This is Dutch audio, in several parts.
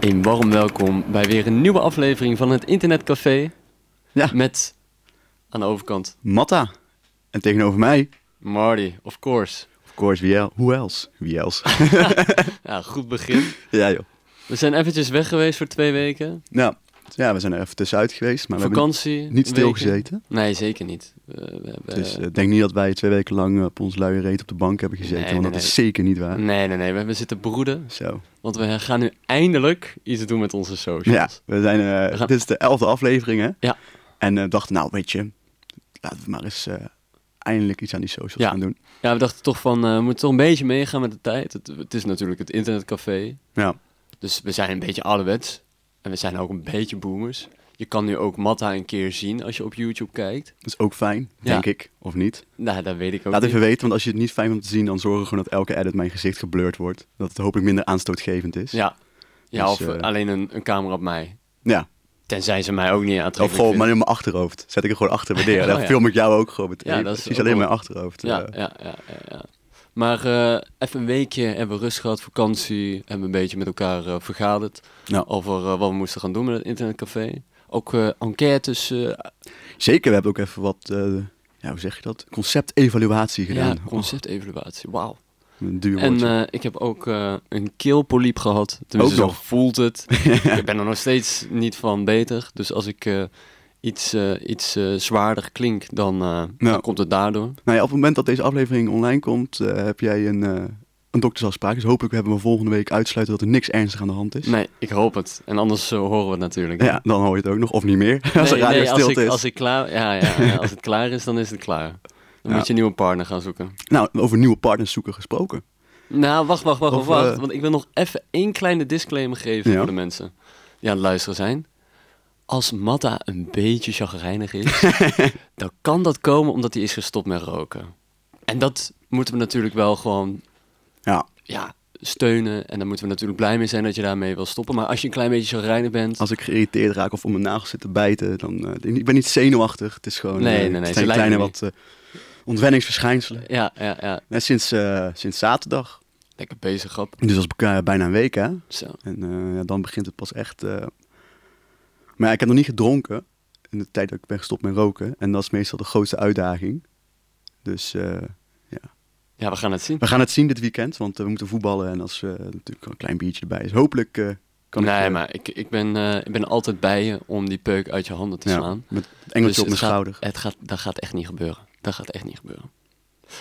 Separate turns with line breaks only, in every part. Een warm welkom bij weer een nieuwe aflevering van het Internetcafé.
Ja.
Met aan de overkant
Matta. En tegenover mij,
Marty, of course.
of course, wie el- who else? Wie else?
Ja, goed begin.
ja, joh.
We zijn eventjes weg geweest voor twee weken.
Nou, ja, we zijn er even tussenuit geweest, maar we hebben
Vakantie.
niet
weken.
stilgezeten.
Nee, zeker niet. Eh, we hebben...
Dus eh, ik denk niet dat wij twee weken lang eh, op ons luie reet op de bank hebben gezeten,
Nee,
want
nee, Mm.
dat is zeker niet waar.
Nee, nee, nee. We hebben zitten broeden.
Zo.
Want we gaan nu eindelijk iets doen met onze
Ja,
socials.
we zijn, eh,
We gaan-
dit is de elfde aflevering, hè?
Ja.
En eh, dachten, nou, weet je, laten we maar eens eh, eindelijk iets aan die socials
Ja.
gaan doen.
Ja, we dachten toch van, eh, we moeten toch een beetje meegaan met de tijd. Het, het is natuurlijk het internetcafé.
Ja.
Dus we zijn een beetje ouderwets. En we zijn ook een beetje boomers. Je kan nu ook Matta een keer zien als je op YouTube kijkt.
Dat is ook fijn,
Ja.
denk ik, of niet?
Nou, dat weet ik ook
Laat
niet.
even weten, want als je het niet fijn vindt om te zien, dan zorgen we gewoon dat elke edit mijn gezicht geblurred wordt. Dat het hopelijk minder aanstootgevend is.
Ja, ja
Dus,
of
eh,
alleen een, een camera op mij.
ja.
Tenzij ze mij ook niet
Of
aantrekkelijk
gewoon maar
vinden.
in mijn achterhoofd. Zet ik er gewoon achter. Wanneer?
Oh,
Dan
ja.
film ik jou ook gewoon met
Ja, dat is
precies
ook
alleen
wel-
mijn achterhoofd.
Ja,
eh.
ja, ja, ja, ja. Maar eh, even een weekje hebben we rust gehad, vakantie. Hebben we een beetje met elkaar eh, vergaderd
Ja.
over eh, wat we moesten gaan doen met het internetcafé. Ook eh, enquêtes eh,
Zeker, we hebben ook even wat, eh, ja, hoe zeg je dat? Concept-evaluatie gedaan.
Ja, conceptevaluatie. Wauw.
Oh, een duur
En
woordje.
eh, ik heb ook eh, een keelpoliep gehad. Tenminste,
Ook
zo
nog.
voelt het. ik ben er nog steeds niet van beter. Dus als ik eh, iets, eh, iets eh, zwaarder klink, dan, eh, dan komt het daardoor.
Nou ja, op het moment dat deze aflevering online komt, eh, heb jij een, eh een doktersafspraak. Dus hopelijk hebben we volgende week uitsluiten dat er niks ernstig aan de hand is.
Nee, ik hoop het. En anders eh, horen we het natuurlijk.
Ja, dan hoor je het ook nog. Of niet meer,
Nee,
als de radio
nee, als,
stilte
ik,
is.
als, ik klaar, ja, ja, ja, als het klaar is, dan is het klaar. Dan
Ja.
moet je een nieuwe partner gaan zoeken.
Nou, over nieuwe partners zoeken gesproken.
Nou, wacht, wacht, wacht,
Of,
wacht.
eh,
Want ik wil nog even één kleine disclaimer geven
Ja.
voor de mensen die aan het luisteren zijn. Als Matta een beetje chagrijnig is, dan kan dat komen omdat hij is gestopt met roken. En dat moeten we natuurlijk wel gewoon
Ja,
ja, steunen. En daar moeten we natuurlijk blij mee zijn dat je daarmee wil stoppen. Maar als je een klein beetje chagrijnig bent...
als ik geïrriteerd raak of om mijn nagels zit te bijten, dan eh, ik ben niet zenuwachtig. Het is gewoon
Nee,
eh,
nee, nee,
het
ze
zijn
lijken
kleine
me
wat eh, ontwenningsverschijnselen.
Ja, ja, ja.
Net sinds, eh, sinds zaterdag.
Lekker bezig, grap.
Dus dat is beka- bijna een week, hè?
Zo.
En eh, ja, dan begint het pas echt. eh. Maar ja, ik heb nog niet gedronken in de tijd dat ik ben gestopt met roken. En dat is meestal de grootste uitdaging. Dus eh,
Ja, we gaan het zien.
we gaan het zien dit weekend, want eh, we moeten voetballen. En als eh, natuurlijk een klein biertje erbij is. Hopelijk eh, kan
nee,
ik, eh,
maar ik, ik, ben, eh, ik ben altijd bij je om die peuk uit je handen te
ja,
slaan.
met het engeltje
Dus
op mijn
het gaat-
schouder.
Het gaat, dat gaat echt niet gebeuren. Dat gaat echt niet gebeuren.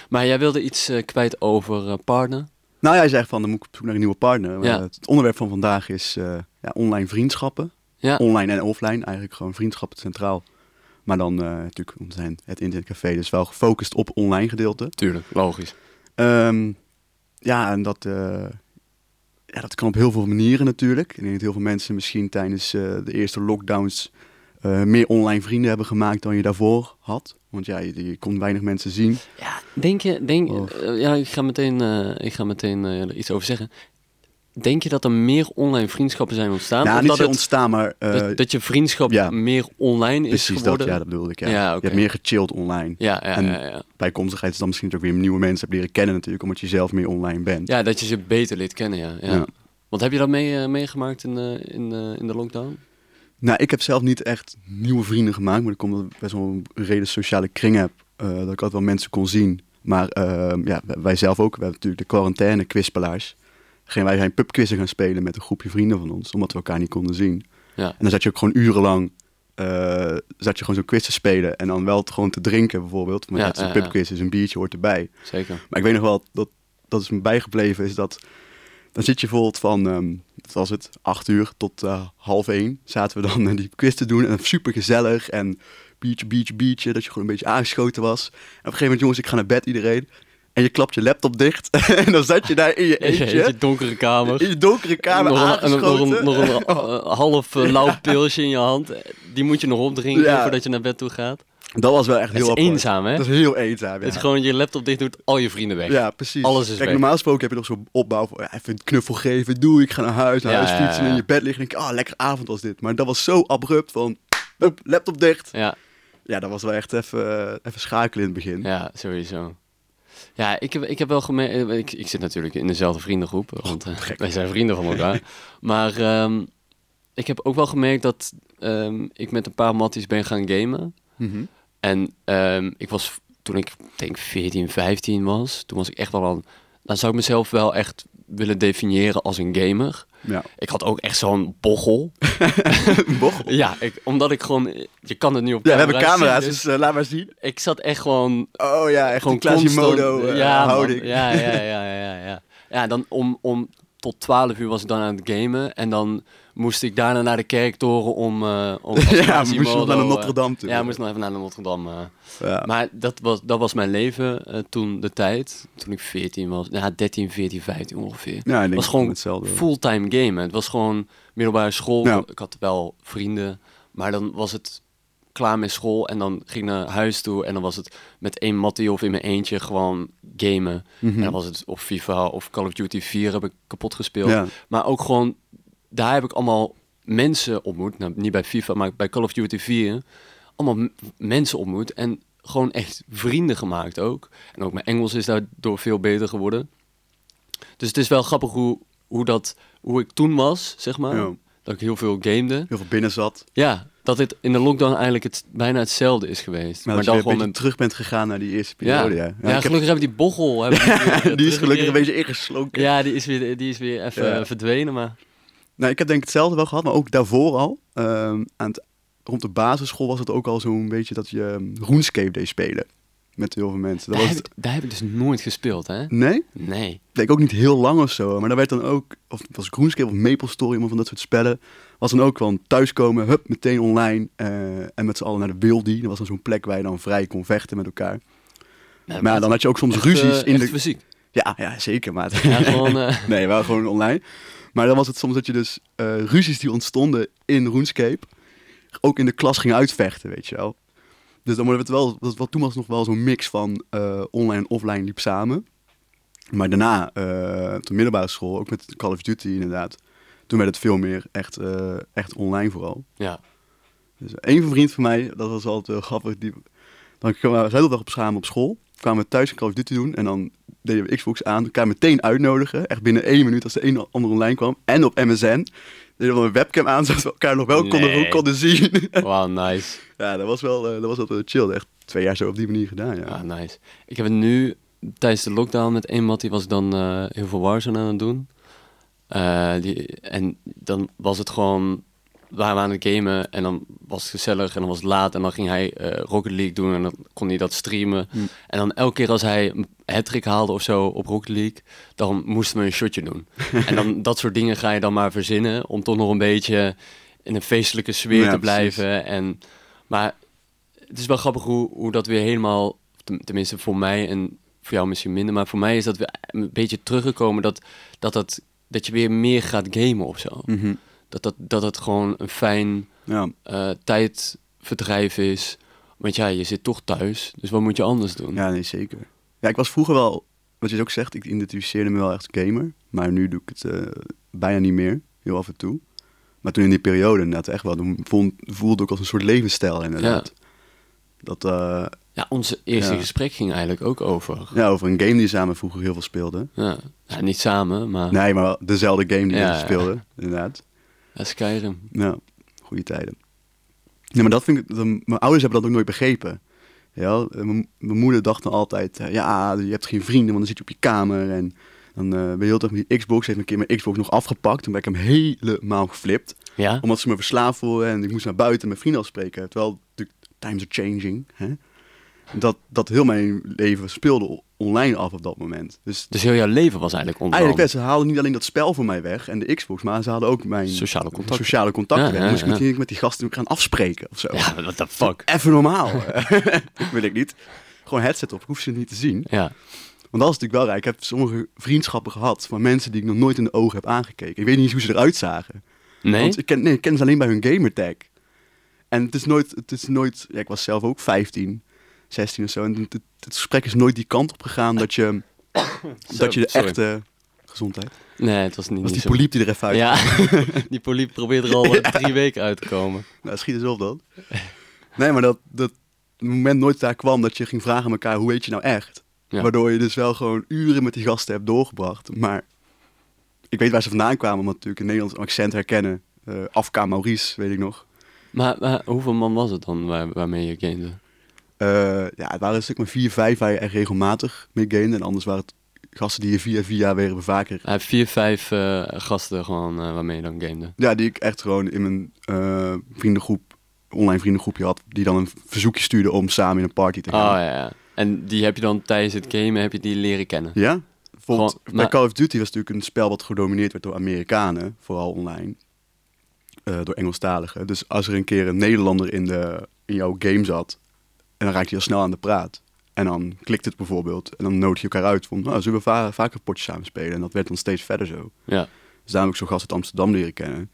Maar jij wilde iets eh, kwijt over eh, partner.
Nou, jij zegt van, dan moet ik op zoek naar een nieuwe partner. Maar,
Ja.
eh, Het onderwerp van vandaag is eh, ja, online vriendschappen.
Ja.
Online en offline, eigenlijk gewoon vriendschappen centraal. Maar dan eh, natuurlijk, we zijn het internetcafé dus wel gefocust op online gedeelte.
Tuurlijk, logisch.
Ehm, ja, en dat, eh, ja, dat kan op heel veel manieren natuurlijk. Ik denk dat heel veel mensen misschien tijdens eh, de eerste lockdowns eh, meer online vrienden hebben gemaakt dan je daarvoor had. Want ja, je, je kon weinig mensen zien.
Ja, denk je... Denk,
Of-
eh, ja, ik ga meteen, eh, ik ga meteen eh, er iets over zeggen. Denk je dat er meer online vriendschappen zijn ontstaan?
nou,
Ah, Of
niet
dat,
zo
het-
ontstaan, maar eh,
dat, dat je vriendschap
ja.
meer online is
precies dat,
geworden?
ja, dat bedoelde ik. Ja.
Ja,
Je
oké.
hebt meer gechilled online.
ja, ja,
En-
ja, ja.
bijkomstigheid is dan misschien ook weer nieuwe mensen hebt leren kennen natuurlijk, omdat je zelf meer online bent.
Ja, dat je ze beter leert kennen, ja. ja.
Ja.
Want heb je dat mee, eh, meegemaakt in, eh, in, eh, in de lockdown?
Nou, ik heb zelf niet echt nieuwe vrienden gemaakt, maar dat komt omdat ik best wel een reden sociale kring heb, eh, dat ik altijd wel mensen kon zien. Maar ehm, ja, w- wij zelf ook, we hebben natuurlijk de quarantaine kwispelaars. Geen, wij zijn pubquizzen gaan spelen met een groepje vrienden van ons, omdat we elkaar niet konden zien.
Ja.
En dan zat je ook gewoon urenlang, eh, zat je gewoon zo'n quiz te spelen en dan wel het gewoon te drinken bijvoorbeeld. Maar
Ja,
ja, het is een
ja, ja.
pubquiz, dus een biertje hoort erbij.
Zeker.
Maar ik weet nog wel, dat, dat is me bijgebleven, is dat... Dan zit je bijvoorbeeld van, ehm wat was het, acht uur tot eh, half één zaten we dan eh, die quiz te doen. En super gezellig en biertje, biertje, biertje, dat je gewoon een beetje aangeschoten was. En op een gegeven moment, jongens, ik ga naar bed iedereen. En je klapt je laptop dicht en dan zat je daar in je
In je,
eentje,
donkere kamer.
in je donkere kamer
nog, een, nog,
aangeschoten.
een, nog een eh, half eh, lauw pilsje in je hand. Die moet je nog opdrinken
Ja.
voordat je naar bed toe gaat.
Dat was wel echt
Het
heel
is
apart.
eenzaam, hè?
Dat is heel eenzaam, ja.
Het is gewoon je laptop dicht doet, al je vrienden weg.
Ja, precies.
Alles is
Kijk,
weg.
normaal gesproken heb je nog zo'n opbouw van ja, even een knuffel geven, doe ik ga naar huis, naar
Ja,
huis
ja,
fietsen,
ja.
in je bed liggen. Denk ik, ah, lekker avond was dit. Maar dat was zo abrupt van, hup, laptop dicht.
Ja,
Ja, dat was wel echt even, eh, even schakelen in het begin.
ja, sowieso. Ja, ik heb, ik heb wel gemerkt... Ik, ik zit natuurlijk in dezelfde vriendengroep,
Oh,
want eh, wij zijn vrienden van elkaar. maar ehm, ik heb ook wel gemerkt dat ehm, ik met een paar matties ben gaan gamen.
Mhm.
En ehm, ik was, toen ik denk 14, 15 was, toen was ik echt wel aan... Dan zou ik mezelf wel echt willen definiëren als een gamer.
Ja.
Ik had ook echt zo'n bochel.
Boch. Ja,
Ja, ik, omdat ik gewoon... Je kan het nu op
we hebben
zien,
camera's,
dus
dus eh, laat maar zien.
ik zat echt gewoon
Oh ja, echt een Klaasje
constant-
Modo eh,
ja, man.
houding.
Ja, ja, ja, ja, ja. Ja, dan om, om tot 12 uur was ik dan aan het gamen. En dan moest ik daarna naar de kerktoren om... eh om als
Ja,
Quasimodo,
moest je nog naar de
eh,
Notre Dame toe.
Ja, moest nog even naar de Notre Dame. eh.
Ja.
Maar dat was, dat was mijn leven eh, toen de tijd. Toen ik 14 was. Ja, 13, 14, 15 ongeveer.
Ja, ik denk
was gewoon
hetzelfde.
Fulltime gamen. Het was gewoon middelbare school.
Ja.
Ik had wel vrienden. Maar dan was het klaar met school. En dan ging ik naar huis toe. En dan was het met één mattie of in mijn eentje gewoon gamen.
Mhm.
En dan was het of FIFA of Call of Duty 4 heb ik kapot gespeeld.
Ja.
Maar ook gewoon, daar heb ik allemaal mensen ontmoet. Nou, niet bij FIFA, maar bij Call of Duty 4. Allemaal m- mensen ontmoet. En gewoon echt vrienden gemaakt ook. En ook mijn Engels is daardoor veel beter geworden. Dus het is wel grappig hoe, hoe, dat, hoe ik toen was, zeg maar.
Ja.
Dat ik heel veel gamede.
Heel veel binnen zat.
Ja, dat het in de lockdown eigenlijk het, bijna hetzelfde is geweest.
Maar,
maar
dat
dan
je weer
gewoon
een beetje
met...
terug bent gegaan naar die eerste
Ja,
periode. Ja,
ja,
Ja, ik heb-
gelukkig hebben die bochel... Hebben weer
die is gelukkig
teruggekeerd.
een beetje ingeslonken.
Ja, die is weer, die is weer even
Ja.
verdwenen, maar...
Nou, ik heb denk ik hetzelfde wel gehad, maar ook daarvoor al. Ehm, aan het, rond de basisschool was het ook al zo'n beetje dat je ehm, RuneScape deed spelen. Met heel veel mensen. Dat
daar,
was
heb ik, daar heb ik dus nooit gespeeld, hè?
Nee?
Nee.
Ik denk ook niet heel lang of zo. Maar daar werd dan ook, of het was RuneScape of MapleStory, maar van dat soort spellen. Was dan ook gewoon thuiskomen, hup, meteen online. eh, en met z'n allen naar de Wildy. Dat was dan zo'n plek waar je dan vrij kon vechten met elkaar.
Nou,
Maar ja, dan had je ook soms
echt,
ruzies
eh,
in
echt
de...
fysiek.
Ja, ja, zeker, maat.
Ja, gewoon, eh,
Nee, wel gewoon online. Maar dan was het soms dat je dus eh, ruzies die ontstonden in RuneScape ook in de klas ging uitvechten, weet je wel. Dus dan worden we het wel, dat wat toen was nog wel zo'n mix van eh, online en offline liep samen. Maar daarna, eh op de middelbare school, ook met Call of Duty inderdaad, toen werd het veel meer echt, eh, echt online vooral.
ja.
Dus één vriend van mij, dat was altijd wel grappig. Die, dan kwamen we de hele dag op samen op school. Kwamen we thuis een Call of Duty doen. En dan deden we Xbox aan. Elkaar meteen uitnodigen. Echt binnen één minuut als de een ander online kwam. En op MSN. Deden we een webcam aan, zodat we elkaar nog wel konden,
Nee.
konden zien.
Wauw, nice.
ja, dat was wel, eh, dat was altijd wel chill. Echt twee jaar zo op die manier gedaan, ja.
Ah, nice. Ik heb het nu tijdens de lockdown met één mat, die was ik dan eh, heel veel Warzone aan het doen. Eh, die, en dan was het gewoon, we waren aan het gamen en dan was het gezellig en dan was het laat en dan ging hij eh, Rocket League doen en dan kon hij dat streamen.
Hm.
En dan elke keer als hij een hattrick haalde of zo op Rocket League, dan moesten we een shotje doen. en dan dat soort dingen ga je dan maar verzinnen om toch nog een beetje in een feestelijke sfeer
Ja,
te
precies.
blijven. En, maar het is wel grappig hoe, hoe dat weer helemaal, ten- tenminste voor mij en voor jou misschien minder, maar voor mij is dat weer een beetje teruggekomen dat, dat, dat, dat je weer meer gaat gamen of zo.
Mhm.
Dat dat, dat, dat gewoon een fijn
ja.
eh, tijdverdrijf is. Want ja, je zit toch thuis, dus wat moet je anders doen?
Ja, nee, zeker. Ja, ik was vroeger wel, wat je dus ook zegt, ik identificeerde me wel echt gamer. Maar nu doe ik het eh, bijna niet meer, heel af en toe. Maar toen in die periode inderdaad echt wel, toen vond, voelde ik ook als een soort levensstijl inderdaad. Dat, eh,
Ja, onze eerste
Ja.
gesprek ging eigenlijk ook over.
ja, over een game die we samen vroeger heel veel speelden.
Ja. Ja, niet samen, maar
Nee, maar wel dezelfde game die
Ja,
we speelden, inderdaad.
ja, Skyrim.
Ja, goede tijden. Ja, maar dat vind ik, dat- mijn ouders hebben dat ook nooit begrepen. Ja, eh, mijn, mijn moeder dacht dan altijd, eh, ja, je hebt geen vrienden, want dan zit je op je kamer. En dan eh ben je heel erg met die Xbox, heeft een keer mijn Xbox nog afgepakt. Toen ben ik hem helemaal geflipt,
Ja?
omdat ze me verslaafd voelden en ik moest naar buiten met vrienden afspreken. Terwijl, natuurlijk, times are changing. Hè? Dat, dat heel mijn leven speelde o- online af op dat moment. Dus
Dus heel jouw leven was eigenlijk onder
Eigenlijk, werd- ze haalden niet alleen dat spel voor mij weg en de Xbox, maar ze hadden ook mijn
Sociale contacten.
sociale contacten
Ja,
weg.
ja,
Moest ik
ja.
met die, met die gasten gaan afspreken of zo.
Ja, what the fuck?
Even normaal. Wil ik niet. Gewoon headset op, ik hoef ze niet te zien.
Ja.
Want dat is natuurlijk wel raar. Ik heb sommige vriendschappen gehad van mensen die ik nog nooit in de ogen heb aangekeken. Ik weet niet eens hoe ze eruit zagen.
Nee?
Want ik ken, nee, ik ken ze alleen bij hun gamertag. En het is nooit, het is nooit ja, ik was zelf ook 15, 16 of zo. En het, het- het gesprek is nooit die kant op gegaan dat je, dat je de
sorry.
echte gezondheid.
Nee, het was niet,
Dat
niet
is
zo.
die poliep die er even uit.
Ja, die poliep probeert er al eh, drie weken uit te komen.
Nou, schiet eens op dan. Nee, maar dat, dat moment nooit daar kwam dat je ging vragen aan elkaar, hoe weet je nou echt?
Ja.
Waardoor je dus wel gewoon uren met die gasten hebt doorgebracht. Maar ik weet waar ze vandaan kwamen, omdat natuurlijk een Nederlands accent herkennen. eh Afka Maurice, weet ik nog.
Maar, maar hoeveel man was het dan waar, waarmee je gamede?
Eh, ja, het waren een stuk maar vier, vijf waar je echt regelmatig mee gamede. En anders waren het gasten die je via via weer bevaker.
Hij heeft vier, vijf eh, gasten gewoon eh, waarmee je dan gamede.
Ja, die ik echt gewoon in mijn eh, vriendengroep, online vriendengroepje had. Die dan een verzoekje stuurde om samen in een party te
Oh
gaan.
ja, ja. En die heb je dan tijdens het gamen heb je die leren kennen.
Ja? Bijvoorbeeld,
Gewoon,
bij
maar-
Call of Duty was natuurlijk een spel wat gedomineerd werd door Amerikanen, vooral online. Eh, door Engelstaligen. Dus als er een keer een Nederlander in, de, in jouw game zat, en dan raakte je al snel aan de praat. En dan klikt het bijvoorbeeld, en dan nodig je elkaar uit van, nou, zullen we va- vaker potjes samen spelen? En dat werd dan steeds verder zo.
Ja.
Dus daarom heb ik zo'n gast uit Amsterdam leren kennen.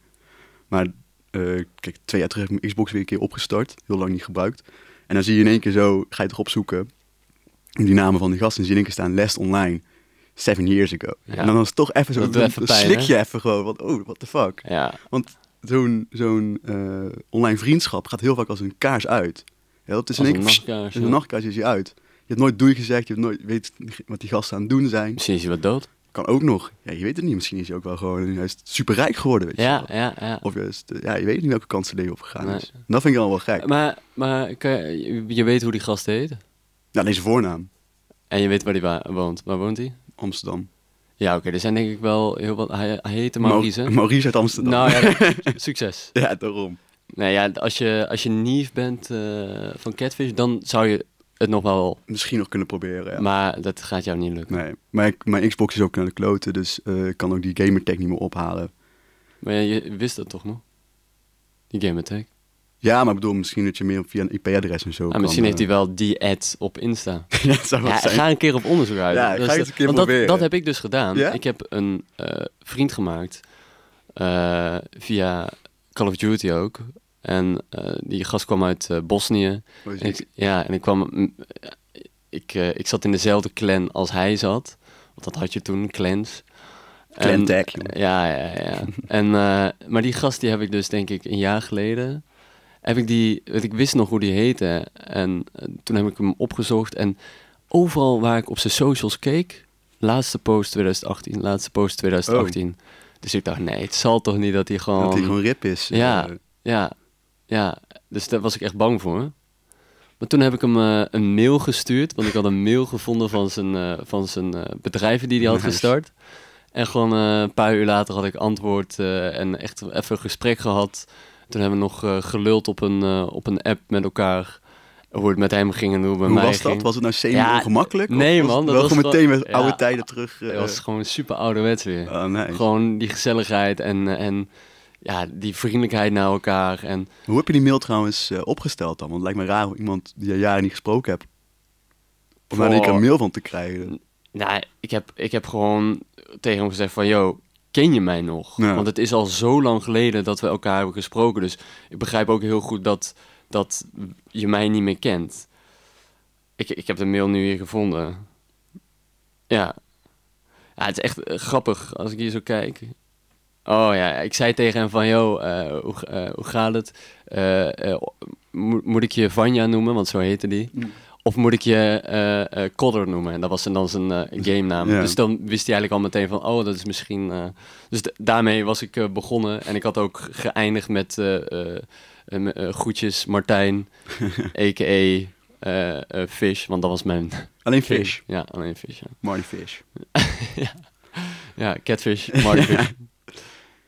Maar eh, kijk, twee jaar terug heb ik mijn Xbox weer een keer opgestart. Heel lang niet gebruikt. En dan zie je in één keer zo, ga je toch opzoeken. Die namen van die gasten. En zie je in één keer staan, last online. Seven years ago.
Ja.
En dan is het toch even zo,
Dat
dan,
doet even
dan
pijn,
slik
hè?
je even gewoon. Want, oh, what the fuck.
Ja,
Want zo'n zo'n eh, online vriendschap gaat heel vaak als een kaars uit. Ja, dat is in
Als
één
een
keer,
nachtkaars,
Als een
ja.
nachtkaars is je uit. Je hebt nooit doei gezegd, je hebt nooit, weet wat die gasten aan het doen zijn.
misschien is hij wat dood.
Kan ook nog. Ja, je weet het niet. Misschien is hij ook wel gewoon juist superrijk geworden. Weet je
Ja,
wel.
ja, ja.
Of juist, eh, ja, je weet niet welke kant zijn leven op gegaan
Nee.
is. En dat vind ik dan wel gek.
Maar, maar kan je, je weet hoe die gast heet.
Ja, deze voornaam.
En je weet waar hij wa- woont. Waar woont hij?
Amsterdam.
Ja, oké. er zijn denk ik wel heel wat... Hij, hij heette Maurice, hè?
Mau- Maurice uit Amsterdam.
Nou ja, succes.
ja, daarom.
Nou ja, als je, als je nief bent eh, van Catfish, dan zou je het nog wel...
Misschien nog kunnen proberen, ja.
Maar dat gaat jou niet lukken.
Nee, maar ik- mijn Xbox is ook naar de kloten, dus eh, ik kan ook die gamertag niet meer ophalen.
Maar ja, je wist dat toch nog? Die Game Attack.
Ja, maar ik bedoel, misschien dat je meer via een IP-adres en zo
Ah,
kan,
misschien heeft hij
eh,
wel die ad op Insta.
ja, dat zou wel
Ja,
zijn.
ga een keer op onderzoek uit.
Ja,
Dat is
ga
de-
eens een keer
want dat,
proberen.
dat heb ik dus gedaan.
Ja?
Ik heb een eh, vriend gemaakt eh, via Call of Duty ook. En eh, die gast kwam uit eh, Bosnië.
Oh,
En
zie
ik, ja, en ik kwam... mm, Ik, eh, ik zat in dezelfde clan als hij zat. Want dat had je toen, clans.
Clan
En-
tag, jongen.
Ja, ja, ja. en, eh, maar die gast die heb ik dus denk ik een jaar geleden... Heb ik die... want Ik wist nog hoe die heette. En eh, toen heb ik hem opgezocht. En overal waar ik op zijn socials keek... Laatste post 2018, laatste post 2018. Dus ik dacht, nee, het zal toch niet dat hij gewoon...
dat hij gewoon rip is.
oh. Ja,
Eh,
ja, ja. Dus daar was ik echt bang voor. Maar toen heb ik hem eh, een mail gestuurd, want ik had een mail gevonden van zijn, eh, van zijn eh, bedrijven die hij had
Nice.
gestart. En gewoon eh, een paar uur later had ik antwoord eh, en echt even een gesprek gehad. Toen hebben we nog eh, geluld op een, eh, op een app met elkaar. Hoe het met hem ging en hoe het met
hoe
mij
was
ging.
dat? Was het nou semi
Ja,
ongemakkelijk? Of
nee,
was
man,
het
dat
wel
was wel-
gewoon meteen met oude
ja.
tijden terug. eh,
Het was gewoon super ouderwets weer.
oh, nice.
Gewoon die gezelligheid en, en ja, die vriendelijkheid naar elkaar. En
Hoe heb je die mail trouwens eh, opgesteld dan? Want het lijkt me raar om iemand die je jaren niet gesproken hebt, om daar in één keer een
Voor-
mail van te krijgen.
Nou, ik heb, ik heb gewoon tegen hem gezegd van... Yo, ken je mij nog?
Ja.
Want het is al zo lang geleden dat we elkaar hebben gesproken. Dus ik begrijp ook heel goed dat, dat je mij niet meer kent. Ik, ik heb de mail nu weer gevonden. Ja. ja. Het is echt eh, grappig als ik hier zo kijk. Oh ja, ik zei tegen hem van... Yo, eh, hoe, ga- eh, hoe gaat het? Eh, eh, mo- moet ik je Vanja noemen? Want zo heette die. Of moet ik je eh eh, Codder noemen? En dat was dan zijn eh, game naam.
Ja.
Dus dan wist hij eigenlijk al meteen van, oh, dat is misschien... eh, Dus d- daarmee was ik eh, begonnen. En ik had ook geëindigd met eh eh, eh, m- eh, groetjes Martijn, a.k.a. eh, eh, Fish. Want dat was mijn...
Alleen Fish.
Ja, alleen Fish. Ja,
Marty Fish.
Mm. ja Catfish, Marty Fish.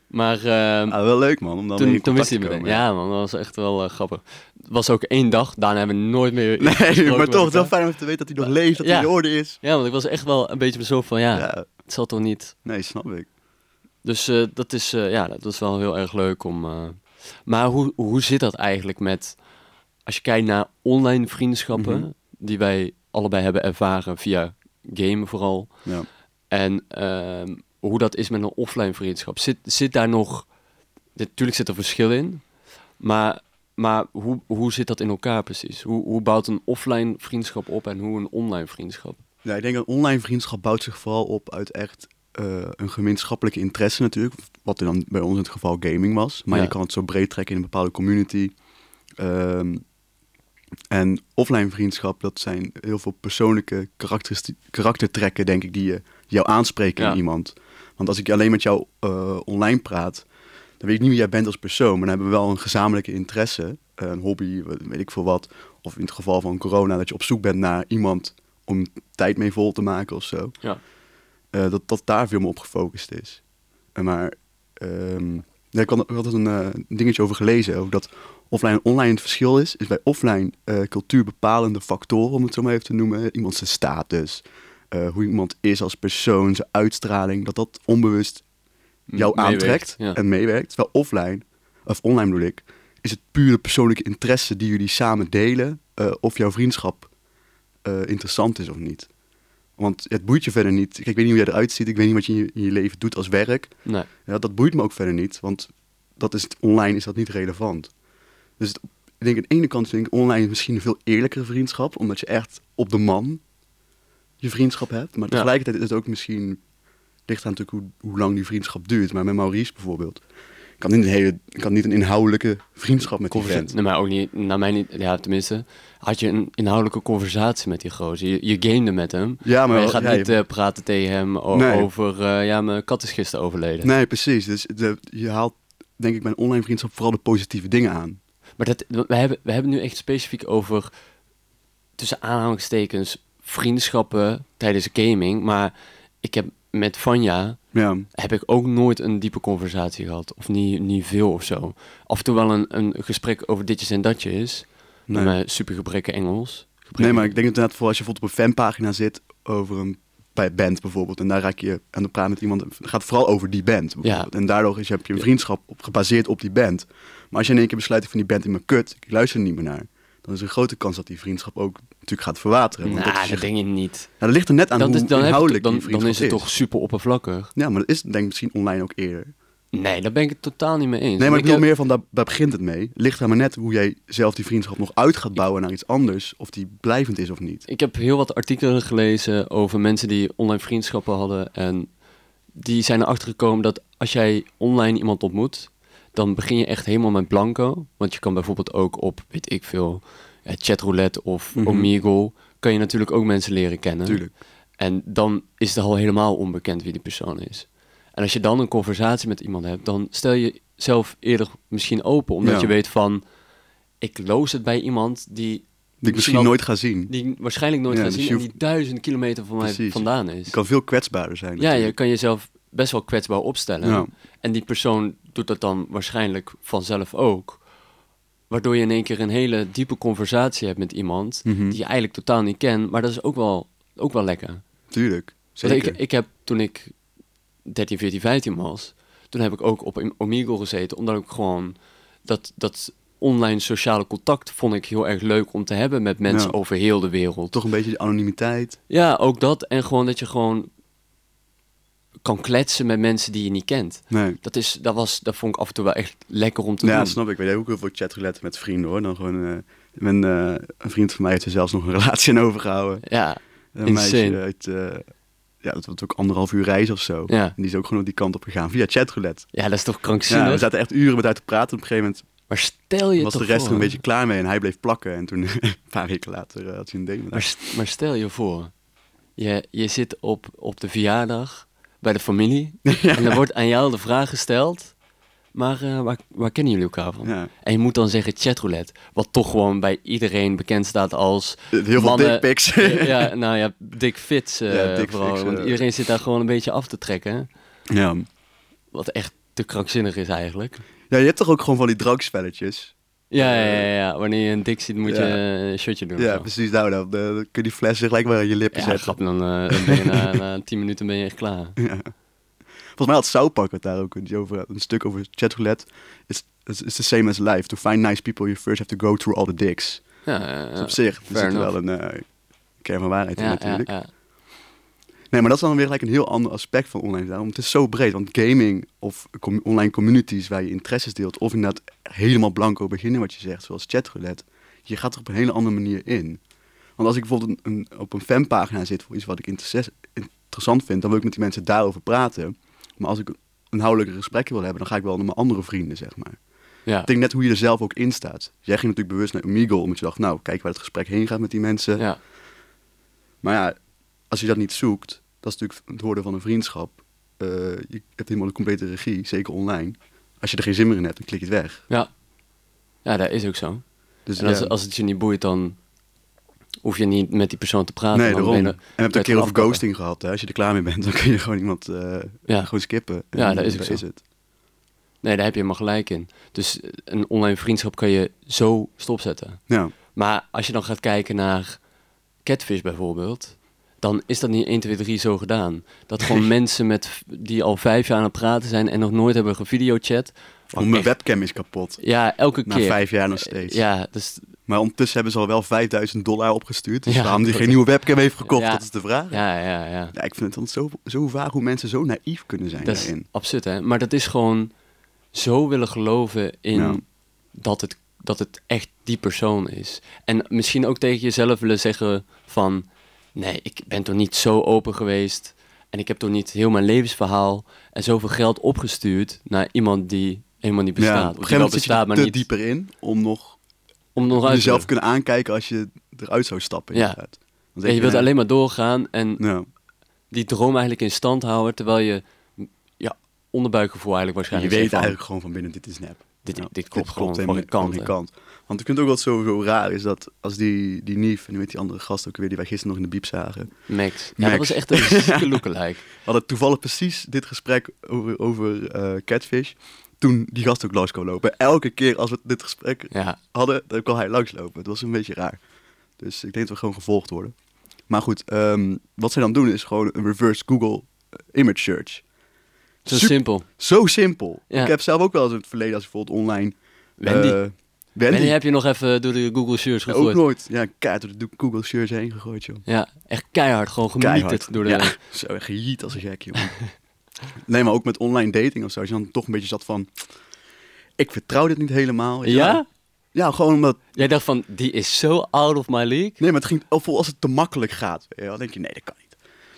Maar... ehm,
Ah, wel leuk man, om dan weer
toen,
in
toen wist
contact te
hij meteen.
komen.
Ja, man, dat was echt wel eh, grappig. Het was ook één dag. Daarna hebben we nooit meer...
Nee,
gesproken
maar
met
toch, het is wel
elkaar.
fijn om te weten dat hij nog leeft, dat hij
Ja.
in orde is.
Ja, want ik was echt wel een beetje bezorgd van,
Ja.
ja, het zal toch niet...
nee, snap ik.
Dus eh, dat, is, eh, ja, dat is wel heel erg leuk om. eh, Maar hoe, hoe zit dat eigenlijk met. Als je kijkt naar online vriendschappen.
Mhm.
die wij allebei hebben ervaren via gamen vooral.
Ja.
En ehm, hoe dat is met een offline vriendschap. Zit, zit daar nog. Natuurlijk zit er verschil in. Maar, maar hoe, hoe zit dat in elkaar precies? Hoe, hoe bouwt een offline vriendschap op en hoe een online vriendschap?
Ja, ik denk dat online vriendschap bouwt zich vooral op uit echt eh, een gemeenschappelijke interesse natuurlijk. Wat er dan bij ons in het geval gaming was. Maar
Ja.
je kan het zo breed trekken in een bepaalde community. Ehm, En offline vriendschap, dat zijn heel veel persoonlijke karakteristi- karaktertrekken, denk ik, die je, jou aanspreken
Ja.
in iemand. Want als ik alleen met jou eh, online praat, dan weet ik niet wie jij bent als persoon, maar dan hebben we wel een gezamenlijke interesse, een hobby, weet ik veel wat. Of in het geval van corona, dat je op zoek bent naar iemand om tijd mee vol te maken of zo.
Ja.
Eh, dat, dat daar veel meer op gefocust is. En maar ehm, ja, ik had ik had er een eh, dingetje over gelezen, ook dat offline en online het verschil is, is bij offline eh, cultuur bepalende factoren, om het zo maar even te noemen. Iemand zijn status, eh, hoe iemand is als persoon, zijn uitstraling, dat dat onbewust jou
Meeweegt,
aantrekt
ja.
en meewerkt. Terwijl offline, of online bedoel ik, is het pure persoonlijke interesse die jullie samen delen, eh, of jouw vriendschap eh, interessant is of niet. Want het boeit je verder niet. Kijk, ik weet niet hoe jij eruit ziet, ik weet niet wat je in je, in je leven doet als werk.
Nee.
Ja, dat boeit me ook verder niet, want dat is, online is dat niet relevant. Dus het- ik denk aan de ene kant vind ik online misschien een veel eerlijkere vriendschap, omdat je echt op de man je vriendschap hebt. Maar
Ja.
tegelijkertijd is het ook misschien, ligt aan natuurlijk hoe, hoe lang die vriendschap duurt. Maar met Maurice bijvoorbeeld, ik kan niet een, hele, ik had niet een inhoudelijke vriendschap met die vent.
Nee, maar ook niet, naar mij niet, ja tenminste, had je een inhoudelijke conversatie met die gozer. Je, je gamede met hem.
Ja, maar
je
wel-
gaat
ja, je-
niet eh, praten tegen hem o-
Nee.
over, eh, ja, mijn kat is gisteren overleden.
Nee, precies. Dus de- je haalt, denk ik, bij een online vriendschap vooral de positieve dingen aan.
Maar dat, we, hebben, we hebben nu echt specifiek over, tussen aanhalingstekens, vriendschappen tijdens gaming. Maar ik heb met Vanja,
Ja,
heb ik ook nooit een diepe conversatie gehad. Of niet, niet veel of zo. Af en toe wel een, een gesprek over ditjes en datjes.
Nee.
Met mijn super gebrekken Engels.
Nee,
Gebrekken-
maar ik denk inderdaad voor als je bijvoorbeeld op een fanpagina zit over een bij band bijvoorbeeld. En daar raak je aan de praat met iemand. Het gaat vooral over die band. bijvoorbeeld. En daardoor is, heb je een vriendschap op, gebaseerd op die band. Maar als je in één keer besluit, ik vind die band in mijn kut, ik luister er niet meer naar. Dan is er een grote kans dat die vriendschap ook natuurlijk gaat verwateren.
Nou,
Want
dat,
dat, is je-
denk ik niet.
Nou, dat ligt er net aan
Dan,
hoe
is, dan, heb je toch-
inhoudelijk
dan,
die vriendschap
dan is het toch super oppervlakkig?
Ja, maar dat is denk ik misschien online ook eerder.
Nee, daar ben ik het totaal niet mee eens.
Nee, maar ik
wil
bedoel meer van, daar, daar begint het mee. Ligt er maar net hoe jij zelf die vriendschap nog uit gaat bouwen naar iets anders. Of die blijvend is of niet.
Ik heb heel wat artikelen gelezen over mensen die online vriendschappen hadden. En die zijn erachter gekomen dat als jij online iemand ontmoet, dan begin je echt helemaal met blanco. Want je kan bijvoorbeeld ook op, weet ik veel, eh, chatroulette of
Mhm.
Omegle, kan je natuurlijk ook mensen leren kennen.
Natuurlijk.
En dan is het al helemaal onbekend wie die persoon is. En als je dan een conversatie met iemand hebt, dan stel je jezelf eerder misschien open. Omdat
Ja.
je weet van, ik loos het bij iemand die
Die ik misschien
al-
nooit ga zien.
die waarschijnlijk nooit
Ja,
gaat
dus
zien
je
en
hoeft-
die duizend kilometer van mij
Precies.
vandaan is.
Je kan veel kwetsbaarder zijn.
ja, je
natuurlijk.
kan jezelf best wel kwetsbaar opstellen.
Ja.
En die persoon doet dat dan waarschijnlijk vanzelf ook. Waardoor je in één keer een hele diepe conversatie hebt met iemand
Mhm.
die je eigenlijk totaal niet kent. Maar dat is ook wel, ook wel lekker.
Tuurlijk.
Want
Zeker.
ik, ik heb toen ik 13, 14, 15 was, toen heb ik ook op Omegle gezeten. Omdat ik gewoon dat, dat online sociale contact vond ik heel erg leuk om te hebben met mensen
Ja.
over heel de wereld.
Toch een beetje de anonimiteit.
Ja, ook dat. En gewoon dat je gewoon kan kletsen met mensen die je niet kent.
Nee.
Dat, is, dat, was, dat vond ik af en toe wel echt lekker om te
Ja,
doen.
dat snap ik. Ik weet ook heel veel chatroulette met vrienden hoor. Dan gewoon, eh, mijn, eh, een vriend van mij heeft er zelfs nog een relatie aan overgehouden.
Ja,
Een
Insane.
meisje uit, eh, ja, dat was ook anderhalf uur reis of zo.
Ja.
En die is ook gewoon op die kant op gegaan via chatroulette.
ja, dat is toch
Ja, we
krankzinnig?
zaten echt uren met haar te praten. Op een gegeven moment
Maar stel je
was de
toch
rest
voor,
er een beetje klaar mee en hij bleef plakken. En toen, een paar weken later, eh, had hij een ding met haar.
Maar, st- maar stel je voor, je, je zit op, op de verjaardag bij de familie en er wordt aan jou de vraag gesteld, maar eh, waar, waar kennen jullie elkaar van?
Ja.
En je moet dan zeggen chatroulette, wat toch gewoon bij iedereen bekend staat als...
Heel veel
mannen-
dickpics.
Ja, ja, nou ja, dik fits eh,
Ja, dick
vooral,
fits,
want
eh.
iedereen zit daar gewoon een beetje af te trekken,
Ja.
wat echt te krankzinnig is eigenlijk.
ja, je hebt toch ook gewoon van die drankspelletjes?
Ja, ja, ja, ja, wanneer je een dik ziet moet
Ja.
je een shotje doen. of
Ja,
zo.
precies. Nou, dan, eh, dan kun je die flessen gelijk maar aan je lippen
Ja,
zetten.
grap, dan, eh, dan ben je na, na tien minuten ben je echt klaar.
Volgens mij had Sauerpak het daar ook een- over, een stuk over chatroulette. It's, it's, it's the same as life. To find nice people, you first have to go through all the dicks.
Ja, eh,
dus op zich, er
fair
zit
enough.
wel een eh, kern van waarheid in
Ja,
natuurlijk.
ja, ja.
Nee, maar dat is dan weer gelijk een heel ander aspect van online. Daarom, het is zo breed, want gaming of com- online communities waar je interesses deelt... of inderdaad helemaal blanco beginnen wat je zegt, zoals chatroulette... je gaat er op een hele andere manier in. Want als ik bijvoorbeeld een, een- op een fanpagina zit voor iets wat ik interesse- interessant vind... dan wil ik met die mensen daarover praten. Maar als ik een inhoudelijker gesprek wil hebben... dan ga ik wel naar mijn andere vrienden, zeg maar.
Ja.
Ik denk net hoe je er zelf ook in staat. Jij ging natuurlijk bewust naar Omegle, omdat je dacht, nou, kijk waar het gesprek heen gaat met die mensen.
ja.
Maar ja, als je dat niet zoekt, dat is natuurlijk het hoorde van een vriendschap. Eh, je hebt helemaal de complete regie, zeker online. Als je er geen zin meer in hebt, dan klik je het weg.
Ja. ja, dat is ook zo.
Dus
En als,
ja.
als het je niet boeit, dan hoef je niet met die persoon te praten.
nee,
dan
daarom.
ben
En
je
we
er-
hebben het een
het
keer over
afkappen.
ghosting gehad. Hè? Als je er klaar mee bent, dan kun je gewoon iemand eh,
Ja.
gewoon skippen.
Ja,
En
dat is ook zo.
het.
Nee, daar heb je helemaal gelijk in. Dus eh, een online vriendschap kan je zo stopzetten.
Ja,
Maar als je dan gaat kijken naar Catfish bijvoorbeeld, dan is dat niet 1, 2, 3 zo gedaan. Dat gewoon mensen met, v- die al vijf jaar aan het praten zijn en nog nooit hebben gevideochat.
want mijn webcam is kapot.
Ja, elke
Na
keer.
vijf jaar nog steeds.
Ja, dus
Maar ondertussen hebben ze al wel 5000 dollar opgestuurd. Dus
Ja,
waarom die
dat
geen
is-
nieuwe webcam heeft gekocht,
Ja.
dat is de vraag. Ja.
ja, ja, ja.
ik vind het dan zo, zo vaag hoe mensen zo naïef kunnen zijn
Dat is
daarin.
absurd, hè? Maar dat is gewoon zo willen geloven in
Ja.
dat, het, dat het echt die persoon is. En misschien ook tegen jezelf willen zeggen van... Nee, ik ben toch niet zo open geweest. En ik heb toch niet heel mijn levensverhaal en zoveel geld opgestuurd... naar iemand die helemaal niet bestaat.
ja,
Of
op een
die
gegeven
wel
moment zit je
bestaat,
er
maar
te
niet...
dieper in om nog
Om nog uit te
jezelf
zelf
te kunnen aankijken als je eruit zou stappen.
Ja.
inderdaad. Want
je
ik-
wilt
ja,
alleen maar doorgaan en
ja.
die droom eigenlijk in stand houden... terwijl je ja, onderbuikgevoel eigenlijk
Je
waarschijnlijk zegt
weet
van,
eigenlijk gewoon van binnen, dit is nep.
dus Dit-
Ja,
dit klopt gewoon van
helemaal
geen
niet- van
kant,
geen
hè.
kant. Want ik vind ook wat sowieso raar is dat als die, die Nief en weet die andere gast ook weer die wij gisteren nog in de biep zagen.
Max. Ja, dat
Max.
was echt een zieke lookalike.
We hadden toevallig precies dit gesprek over, over eh, Catfish. Toen die gast ook langs kwam lopen. Elke keer als we dit gesprek
Ja,
hadden, dan kwam hij langslopen. Het was een beetje raar. Dus ik denk dat we gewoon gevolgd worden. Maar goed, ehm, wat zij dan doen is gewoon een reverse Google eh, image search.
zo
Super-
simpel.
Zo simpel.
Ja.
Ik heb zelf ook wel eens in het verleden, als ik bijvoorbeeld online...
Wendy.
eh, Wendy.
Wendy heb je nog even door de Google search
Ja,
gegooid.
ook nooit. Ja, keihard door de Google search heen gegooid, joh.
Ja, echt keihard. Gewoon gemieterd door de...
Ja, zo gejiet als een gek, joh. nee, maar ook met online dating of zo. Als je dan toch een beetje zat van... Ik vertrouw dit niet helemaal.
Ja?
Ja, gewoon omdat...
Jij dacht van, die is zo out of my league.
Nee, maar het ging... Of als het te makkelijk gaat, weet je wel, dan denk je, nee, dat kan niet.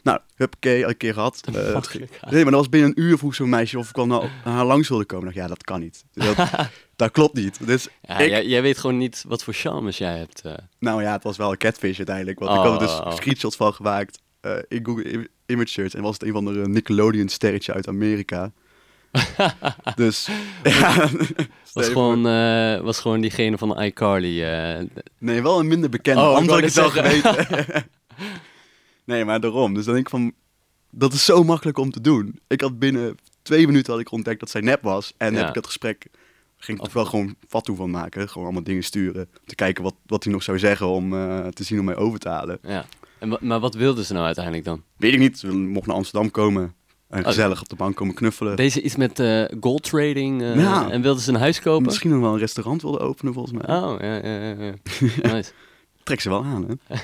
Nou, heb ik al een keer gehad. Eh, het
makkelijk
ging-
gaat.
nee, maar dat was binnen een uur vroeg zo'n meisje of ik al naar naar haar langs wilde komen. Ik dacht, ja, dat kan niet. Dat, dat klopt niet. Dus
Ja,
ik,
jij, jij weet gewoon niet wat voor charmes jij hebt. eh.
Nou ja, het was wel een catfish uiteindelijk. Want ik
Oh.
had er dus screenshots van gemaakt eh, in Google Im- Image Search. En was het een van de Nickelodeon sterretje uit Amerika. dus ja,
was, gewoon, eh, was gewoon diegene van de iCarly. eh.
Nee, wel een minder bekende.
Oh, ik
anders had
wou
ik het wel
net
geweten. nee, maar daarom. Dus dan denk ik van, dat is zo makkelijk om te doen. Ik had binnen twee minuten had ik ontdekt dat zij nep was. En
Ja.
heb ik dat gesprek, ging ik er wel gewoon fatu van maken. Gewoon allemaal dingen sturen. om Te kijken wat, wat hij nog zou zeggen om eh, te zien om mij over te halen.
ja. en, wa- maar wat wilden ze nou uiteindelijk dan?
Weet ik niet. We mochten naar Amsterdam komen. En
Oh.
gezellig op de bank komen knuffelen.
Deze iets met eh, gold trading. eh,
Ja.
En wilden ze een huis kopen?
Misschien nog wel een restaurant wilden openen, volgens mij.
Oh, ja, ja, ja, ja. Nice.
Trek ze wel aan, hè?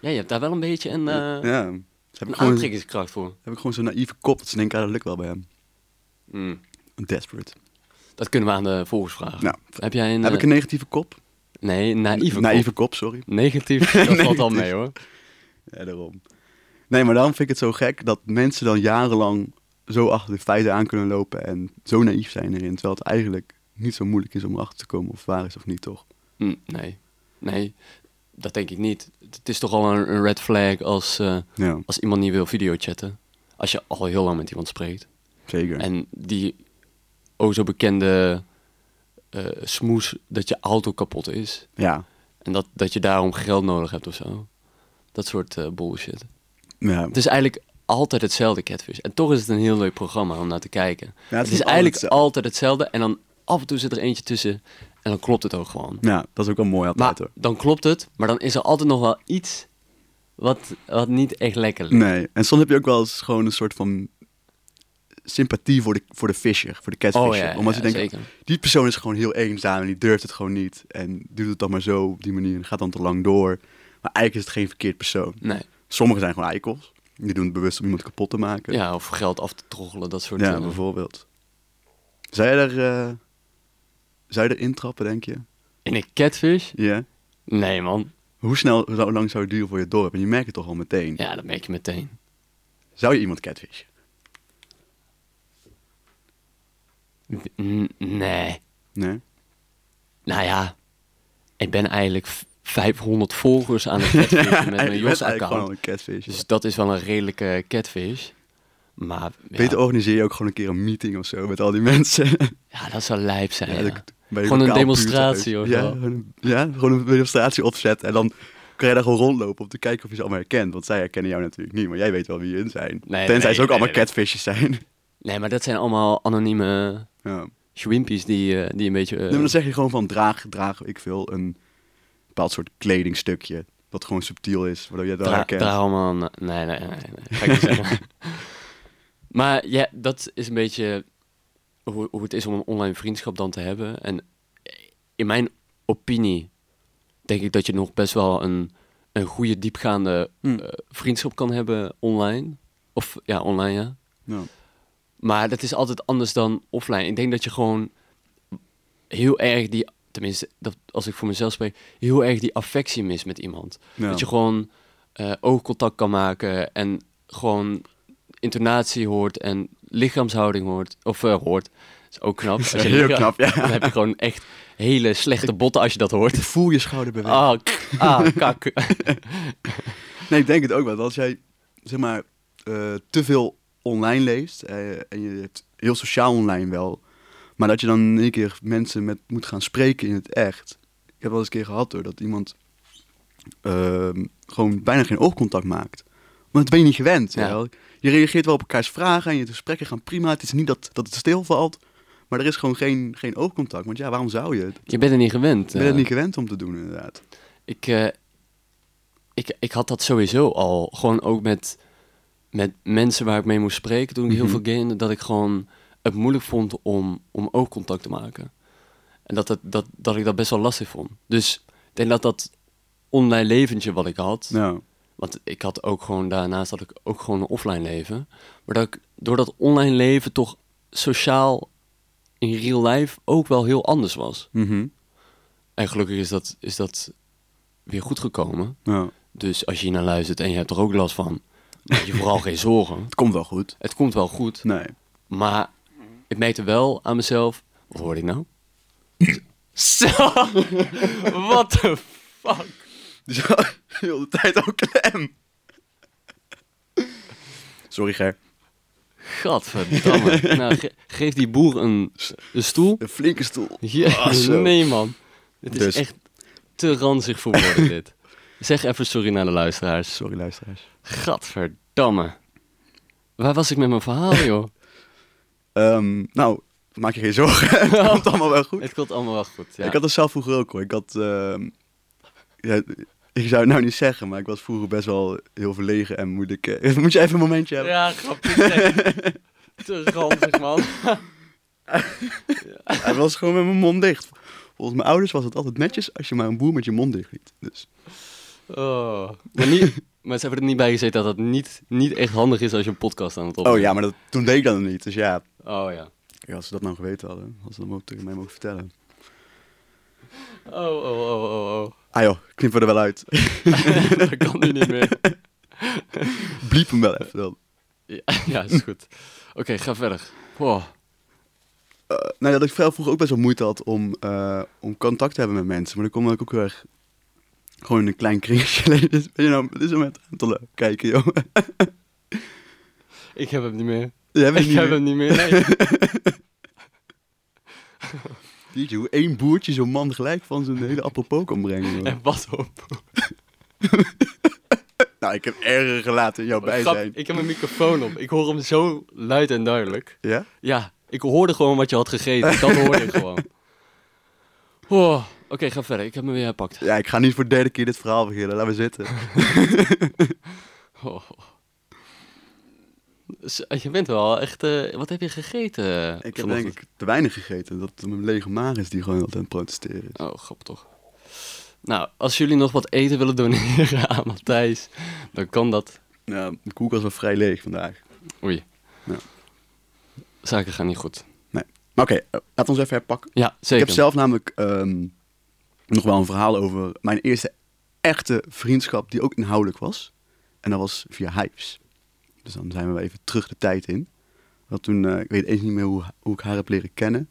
Ja, je hebt daar wel een beetje een, eh,
ja. Dus heb,
een
ik gewoon,
aantrekkingskracht voor.
heb ik gewoon zo'n naïeve kop dat ze denken, ah, dat lukt wel bij hem.
Mm.
Desperate.
Dat kunnen we aan de volgers vragen.
Nou,
Heb jij een...
heb
eh,
ik een negatieve kop?
Nee, naïeve kop.
Naïeve kop, sorry.
Negatief, dat valt al mee hoor.
Ja, daarom. Nee, maar daarom vind ik het zo gek dat mensen dan jarenlang zo achter de feiten aan kunnen lopen en zo naïef zijn erin. Terwijl het eigenlijk niet zo moeilijk is om erachter te komen of het waar is of niet, toch?
Hm, nee, nee, dat denk ik niet. Het is toch al een, een red flag als, eh,
Ja,
als iemand niet wil videochatten. Als je al heel lang met iemand spreekt.
zeker.
En die o zo bekende eh, smoes dat je auto kapot is.
Ja.
En dat, dat je daarom geld nodig hebt of zo. Dat soort eh, bullshit.
ja.
Het is eigenlijk altijd hetzelfde Catfish. En toch is het een heel leuk programma om naar te kijken.
Ja,
het,
het
is,
is
eigenlijk
altijd
altijd hetzelfde. En dan af en toe zit er eentje tussen. En dan klopt het ook gewoon.
Ja, dat is ook wel mooi altijd,
Maar
hoor.
dan klopt het, maar dan is er altijd nog wel iets wat, wat niet echt lekker ligt.
Nee, en soms heb je ook wel eens gewoon een soort van sympathie voor de, voor de visser, voor de catfisher.
Oh, ja,
Omdat
ja,
je denkt,
zeker.
die persoon is gewoon heel eenzaam en die durft het gewoon niet. En doet het dan maar zo op die manier en gaat dan te lang door. Maar eigenlijk is het geen verkeerd persoon.
Nee.
Sommigen zijn gewoon eikels. Die doen het bewust om iemand kapot te maken.
Ja, of geld af te troggelen, dat soort
Ja,
eh,
bijvoorbeeld. Zou je daar, eh, zou je er intrappen, denk je?
In een catfish?
Ja.
Nee, man.
Hoe snel, hoe lang zou het duren voor je het door hebt? En je merkt het toch al meteen.
Ja, dat merk je meteen.
Zou je iemand catfishen?
N- nee.
Nee.
Nou ja, ik ben eigenlijk v- 500 volgers aan het catfishen met
Eigenlijk-
mijn
je bent eigenlijk
Jos-account.
gewoon een catfish.
Dus dat is wel een redelijke catfish. Maar ja,
Beter organiseer je ook gewoon een keer een meeting of zo met al die mensen.
ja, dat zou lijp zijn.
Ja,
ja.
dat- bij je
Gewoon een
lokaal
demonstratie
buurthuis.
of
ja,
zo.
gewoon een- ja, gewoon een demonstratie opzet en dan kan je daar gewoon rondlopen om te kijken of je ze allemaal herkent. Want zij herkennen jou natuurlijk niet, maar jij weet wel wie hun zijn.
Nee,
Tenzij
nee,
ze ook
nee,
allemaal
nee.
catfishjes zijn.
Nee, maar dat zijn allemaal anonieme
Ja.
schwimpies die, eh, die een beetje... eh,
Nee, maar dan zeg je gewoon van draag, draag ik veel een bepaald soort kledingstukje. Dat gewoon subtiel is, waardoor je dat
Dra-
herkent.
Draalman. Nee, nee, nee. nee. Ga ik niet zeggen. Maar ja, dat is een beetje hoe, hoe het is om een online vriendschap dan te hebben. En in mijn opinie denk ik dat je nog best wel een, een goede, diepgaande
Hm.
eh, vriendschap kan hebben online. Of ja, online ja.
Ja.
Maar dat is altijd anders dan offline. Ik denk dat je gewoon heel erg die, tenminste dat, als ik voor mezelf spreek, heel erg die affectie mist met iemand.
Ja.
Dat je gewoon eh, oogcontact kan maken en gewoon intonatie hoort en lichaamshouding hoort. Of eh, hoort. is ook knap. Als je
heel
lichaam-
knap, ja.
Dan heb je gewoon echt hele slechte botten als je dat hoort.
Ik voel je schouder bewegen.
Ah, k- ah, kak.
Nee, ik denk het ook wel. Want Als jij zeg maar eh, te veel online leest eh, en je hebt heel sociaal online wel, maar dat je dan in één keer mensen met moet gaan spreken in het echt. Ik heb wel eens een keer gehad hoor dat iemand ehm, gewoon bijna geen oogcontact maakt. Want dat ben je niet gewend.
Ja.
weet je wel. Je reageert wel op elkaars vragen en je gesprekken gaan prima. Het is niet dat, dat het stilvalt, maar er is gewoon geen, geen oogcontact. Want ja, waarom zou je? het?
Je bent er niet gewend.
Ik ben het
eh.
niet gewend om te doen inderdaad.
Ik, eh, ik, ik had dat sowieso al. Gewoon ook met, met mensen waar ik mee moest spreken toen ik heel
Mhm.
veel gamede. Dat ik gewoon het moeilijk vond om, om ook contact te maken. En dat, dat, dat, dat ik dat best wel lastig vond. Dus ik denk dat dat online leventje wat ik had.
Nou,
Want ik had ook gewoon daarnaast had ik ook gewoon een offline leven. Maar dat ik door dat online leven toch sociaal in real life ook wel heel anders was.
mhm.
En gelukkig is dat, is dat weer goed gekomen.
nou,
Dus als je hier naar luistert en je hebt er ook last van, maak je vooral geen zorgen.
het komt wel goed.
Het komt wel goed,
Nee.
maar ik merkte wel aan mezelf. Wat hoorde ik nou? Zo, wat de fuck?
Dus heel de tijd ook klem. Sorry, Ger.
Gadverdamme. nou, ge- geef die boer een, een stoel.
Een flinke stoel.
Ja,
Ah, zo.
nee man. Het is
Dus.
echt te ranzig voor woorden dit. Zeg even sorry naar de luisteraars.
Sorry, luisteraars.
Gadverdamme. Waar was ik met mijn verhaal, joh?
Ehm, nou, maak je geen zorgen. het komt allemaal wel goed.
Het komt allemaal wel goed. Ja.
Ik had het zelf vroeger ook hoor. Ik had. ehm, ja, ik zou het nou niet zeggen, maar ik was vroeger best wel heel verlegen en moeilijk. eh, moet je even een momentje hebben?
Ja, grappig. zeg. Te ranzig, man.
Hij was gewoon met mijn mond dicht. Volgens mijn ouders was het altijd netjes als je maar een boer met je mond dicht liet. Dus
Oh. Maar, niet, maar ze hebben er niet bij gezeten dat het niet, niet echt handig is als je een podcast aan het
Oh
opnemen.
ja, maar dat, toen deed ik dat nog niet. Dus ja,
Oh ja.
kijk, als ze dat nou geweten hadden, hadden ze dat ook tegen mij mogen vertellen.
Oh, oh, oh, oh, oh.
Ah joh, knip er wel uit.
dat kan nu niet meer.
Bliep hem wel even dan.
Ja, ja, is goed. Oké, ga verder. Wow.
Eh, nou ja, dat ik vrij vroeger ook best wel moeite had om, eh, om contact te hebben met mensen. Maar dan kom ik ook heel erg gewoon in een klein kringetje leven. Dus ben je nou op dit moment aan het kijken, joh.
Ik heb hem niet meer.
Jij bent
Ik
niet
heb
meer-
hem niet meer. Nee.
Jeetje, hoe één boertje zo'n man gelijk van zijn hele apropos kan brengen. joh.
En wat op.
Nou, ik heb erger gelaten in jouw
Grap,
bijzijn.
ik heb mijn microfoon op. Ik hoor hem zo luid en duidelijk.
Ja?
Ja, ik hoorde gewoon wat je had gegeten. Dat hoorde ik gewoon. Oh, Oké, ga verder. Ik heb me weer herpakt.
Ja, ik ga niet voor de derde keer dit verhaal beginnen. Laten we zitten.
Oh. Zo, Je bent wel echt... eh, wat heb je gegeten? eh,
Ik heb
vanochtend?
denk ik te weinig gegeten. Dat het mijn lege maag is die gewoon altijd aan het protesteren is.
Oh, grappig toch. Nou, als jullie nog wat eten willen doneren aan Matthijs, dan kan dat.
Nou, de koelkast was vrij leeg vandaag.
Oei.
Ja.
Zaken gaan niet goed.
Nee. Maar oké, eh, laten we ons even herpakken.
Ja, zeker.
Ik heb zelf namelijk ehm, nog wel een verhaal over mijn eerste echte vriendschap die ook inhoudelijk was. En dat was via Hives. Dus dan zijn we wel even terug de tijd in. Want toen, eh, ik weet eens niet meer hoe, hoe ik haar heb leren kennen.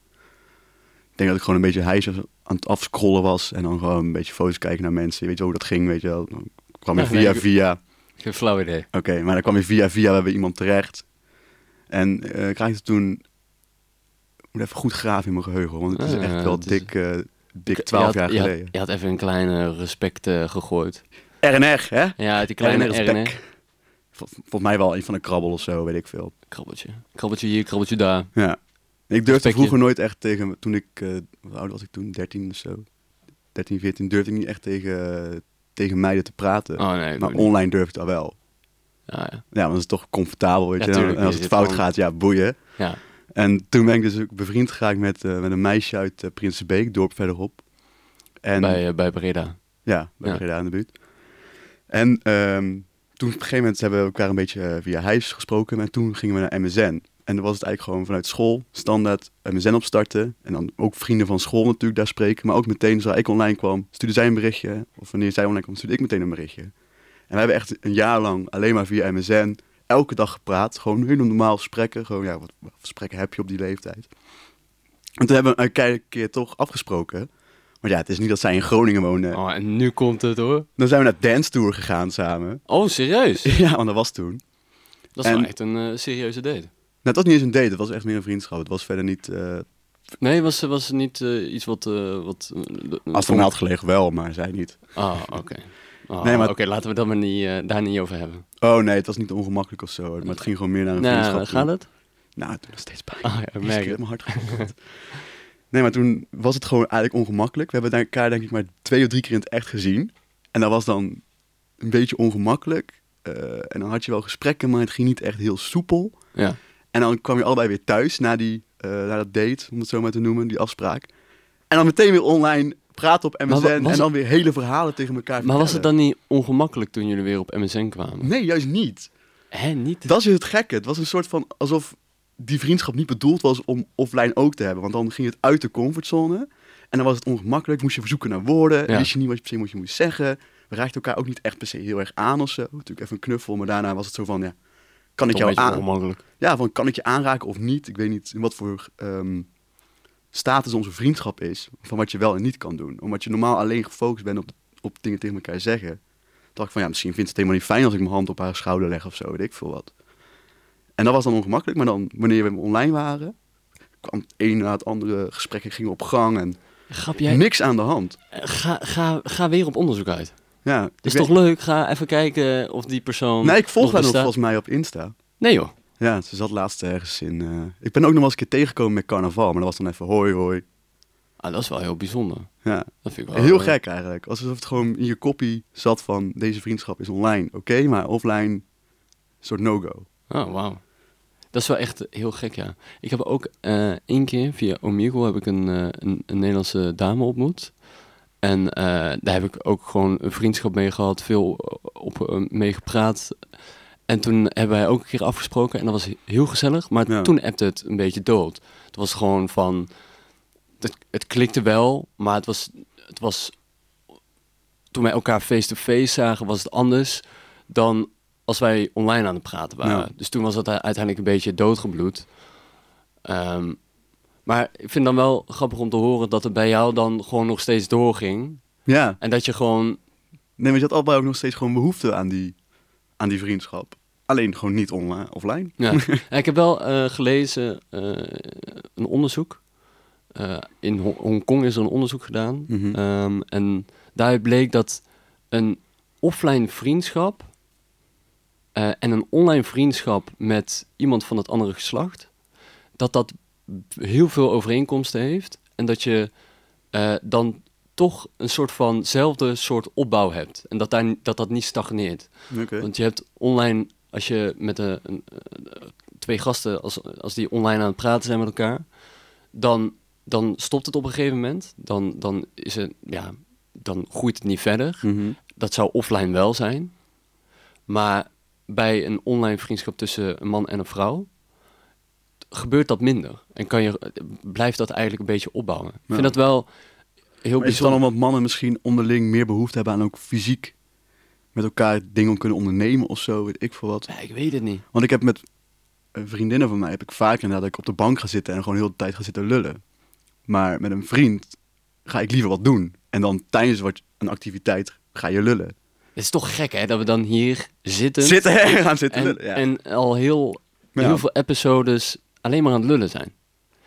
denk dat ik gewoon een beetje hijs aan het afscrollen was. En dan gewoon een beetje foto's kijken naar mensen. Je weet wel hoe dat ging, weet je wel. Dan kwam je
Ja,
via
nee, ik-
via.
Geen flauw idee.
Oké, maar dan kwam je via via bij iemand terecht. En eh, ik raakte toen... Ik moet even goed graven in mijn geheugen, want het is
Ah,
echt wel
het is-
dik, eh, dik
Je
12
had-
jaar
je had-
geleden.
Je had even een kleine respect eh, gegooid.
RNR, hè?
Ja, die kleine
RNR is
RNR.
back. Vol- Volgens mij wel een van een krabbel of zo, weet ik veel.
Krabbeltje. Krabbeltje hier, krabbeltje daar.
Ja. Ik durfde
Respectje.
vroeger nooit echt tegen, toen ik, eh hoe oud was ik toen? 13 of zo. 13, 14 durfde ik niet echt tegen, tegen meiden te praten.
Oh nee. ik
maar
weet niet.
online durfde ik dat wel.
Ah, ja.
Ja, want dat is toch comfortabel, weet
Ja,
je. En-
tuurlijk,
en als
je
het
zit
fout
gewoon-
gaat, ja, boeien.
ja.
En toen ben ik dus ook bevriend geraakt met, eh, met een meisje uit eh, Prinsenbeek, dorp verderop. En,
bij, eh, bij Breda.
Ja, bij
Ja.
Breda aan de buurt. En ehm, toen op een gegeven moment hebben we elkaar een beetje eh, via huis gesproken. En toen gingen we naar MSN. En dan was het eigenlijk gewoon vanuit school standaard MSN opstarten. En dan ook vrienden van school natuurlijk daar spreken. Maar ook meteen, zodra ik online kwam, stuurde zij een berichtje. Of wanneer zij online kwam, stuurde ik meteen een berichtje. En we hebben echt een jaar lang alleen maar via MSN elke dag gepraat. Gewoon hele normaal gesprekken. Gewoon, ja, wat wat voor gesprekken heb je op die leeftijd? En toen hebben we een keer- keer toch afgesproken. Maar ja, het is niet dat zij in Groningen wonen
Oh, en nu komt het hoor.
dan zijn we naar Dance Tour gegaan samen.
Oh, serieus?
Ja, want dat was toen.
Dat is wel
En-
echt een eh, serieuze date.
Nou, dat was niet eens een date, dat was echt meer een vriendschap. Het was verder niet eh
Nee, was, was niet eh, iets wat... eh wat eh, de-
als van had gelegen wel, maar zij niet.
Ah, oké. Ah,
Nee, maar-
Oké, laten we dat maar niet, eh, daar niet over hebben.
Oh nee, het was niet ongemakkelijk of zo, maar het ging gewoon meer naar een
Nou,
vriendschap. toe.
gaat het?
Nou, toen nog steeds pijn.
Ah, ja, ik
Jezus,
merk
ik heb
het.
mijn hart geklopt. Nee, maar toen was het gewoon eigenlijk ongemakkelijk. We hebben elkaar denk ik maar twee of drie keer in het echt gezien. En dat was dan een beetje ongemakkelijk. Eh, en dan had je wel gesprekken, maar het ging niet echt heel soepel.
Ja.
En dan kwam je allebei weer thuis na, die, eh, na dat date, om het zo maar te noemen, die afspraak. En dan meteen weer online praten op
wa-
MSN en
was
dan weer hele verhalen tegen elkaar
Maar was het
vertellen.
dan niet ongemakkelijk toen jullie weer op MSN kwamen?
Nee, juist niet.
Hè, niet?
Dat is het gekke. Het was een soort van alsof die vriendschap niet bedoeld was om offline ook te hebben. Want dan ging het uit de comfortzone en dan was het ongemakkelijk. Moest je zoeken naar woorden,
Ja.
wist je niet wat je per se moest, je moest zeggen. We raakten elkaar ook niet echt per se heel erg aan of zo. Natuurlijk even een knuffel, maar daarna was het zo van, ja, kan ik
Toch een
jou
beetje
aan?
ongemakkelijk.
ja, van kan ik je aanraken of niet? Ik weet niet in wat voor ehm, status onze vriendschap is, van wat je wel en niet kan doen. Omdat je normaal alleen gefocust bent op, op dingen tegen elkaar zeggen. Toen dacht ik van, ja, misschien vindt ze het helemaal niet fijn als ik mijn hand op haar schouder leg of zo, weet ik veel wat. En dat was dan ongemakkelijk, maar dan wanneer we online waren, kwam het een na het andere gesprekken gingen op gang en
Grap, jij...
niks aan de hand.
eh, Ga, ga, ga weer op onderzoek uit.
Ja, ik
Is
weet-
toch leuk? Ga even kijken of die persoon.
Nee, ik volg haar nog
bestaat.
volgens mij op Insta.
Nee, joh.
Ja, ze zat laatst ergens in... eh, Ik ben ook nog wel eens een keer tegengekomen met carnaval, maar dat was dan even hoi hoi.
Ah, dat is wel heel bijzonder.
Ja,
Dat vind ik wel
Heel
eh,
gek eigenlijk. Alsof het gewoon in je kopie zat van deze vriendschap is online, oké, maar offline een soort no-go.
Oh, wauw. Dat is wel echt heel gek, ja. Ik heb ook eh één keer via Omegle heb ik een, eh, een, een Nederlandse dame ontmoet. En eh, daar heb ik ook gewoon een vriendschap mee gehad, veel op, eh, mee gepraat. En toen hebben wij ook een keer afgesproken en dat was heel gezellig. Maar
Ja.
toen appte het een beetje dood. Het was gewoon van... Het, het klikte wel, maar het was, het was... Toen wij elkaar face-to-face zagen, was het anders dan als wij online aan het praten waren.
Ja.
Dus toen was dat uiteindelijk een beetje doodgebloed. Ehm, maar ik vind dan wel grappig om te horen dat het bij jou dan gewoon nog steeds doorging.
Ja,
En dat je gewoon...
nee, maar je had allebei ook nog steeds gewoon behoefte aan die, aan die vriendschap. Alleen gewoon niet online, offline.
Ja. Ja, ik heb wel eh, gelezen eh, een onderzoek. Eh, in Ho- Hongkong is er een onderzoek gedaan.
Mhm.
Ehm, en daaruit bleek dat een offline vriendschap eh, en een online vriendschap met iemand van het andere geslacht, dat dat heel veel overeenkomsten heeft. En dat je eh, dan toch een soort vanzelfde soort opbouw hebt. En dat daar, ni- dat, dat niet stagneert.
Oké.
Want je hebt online, als je met eh, een, eh, twee gasten, als, als die online aan het praten zijn met elkaar, dan, dan stopt het op een gegeven moment. Dan, dan, is het, ja, dan groeit het niet verder.
Mhm.
Dat zou offline wel zijn. Maar bij een online vriendschap tussen een man en een vrouw gebeurt dat minder. En kan je, blijft dat eigenlijk een beetje opbouwen. Ik
Ja.
vind dat wel heel
Maar is het dan
bijzonder.
omdat mannen misschien onderling meer behoefte hebben aan ook fysiek met elkaar dingen kunnen ondernemen of zo, weet ik veel wat.
Ja, ik weet het niet.
Want ik heb met eh, vriendinnen van mij heb ik vaak inderdaad dat ik op de bank ga zitten en gewoon heel de tijd ga zitten lullen. Maar met een vriend ga ik liever wat doen. En dan tijdens wat, een activiteit ga je lullen.
Het is toch gek, hè, dat we dan hier zitten.
Zitten, hè? Gaan zitten
en,
lullen. Ja.
en al heel,
Ja.
heel veel episodes alleen maar aan het lullen zijn.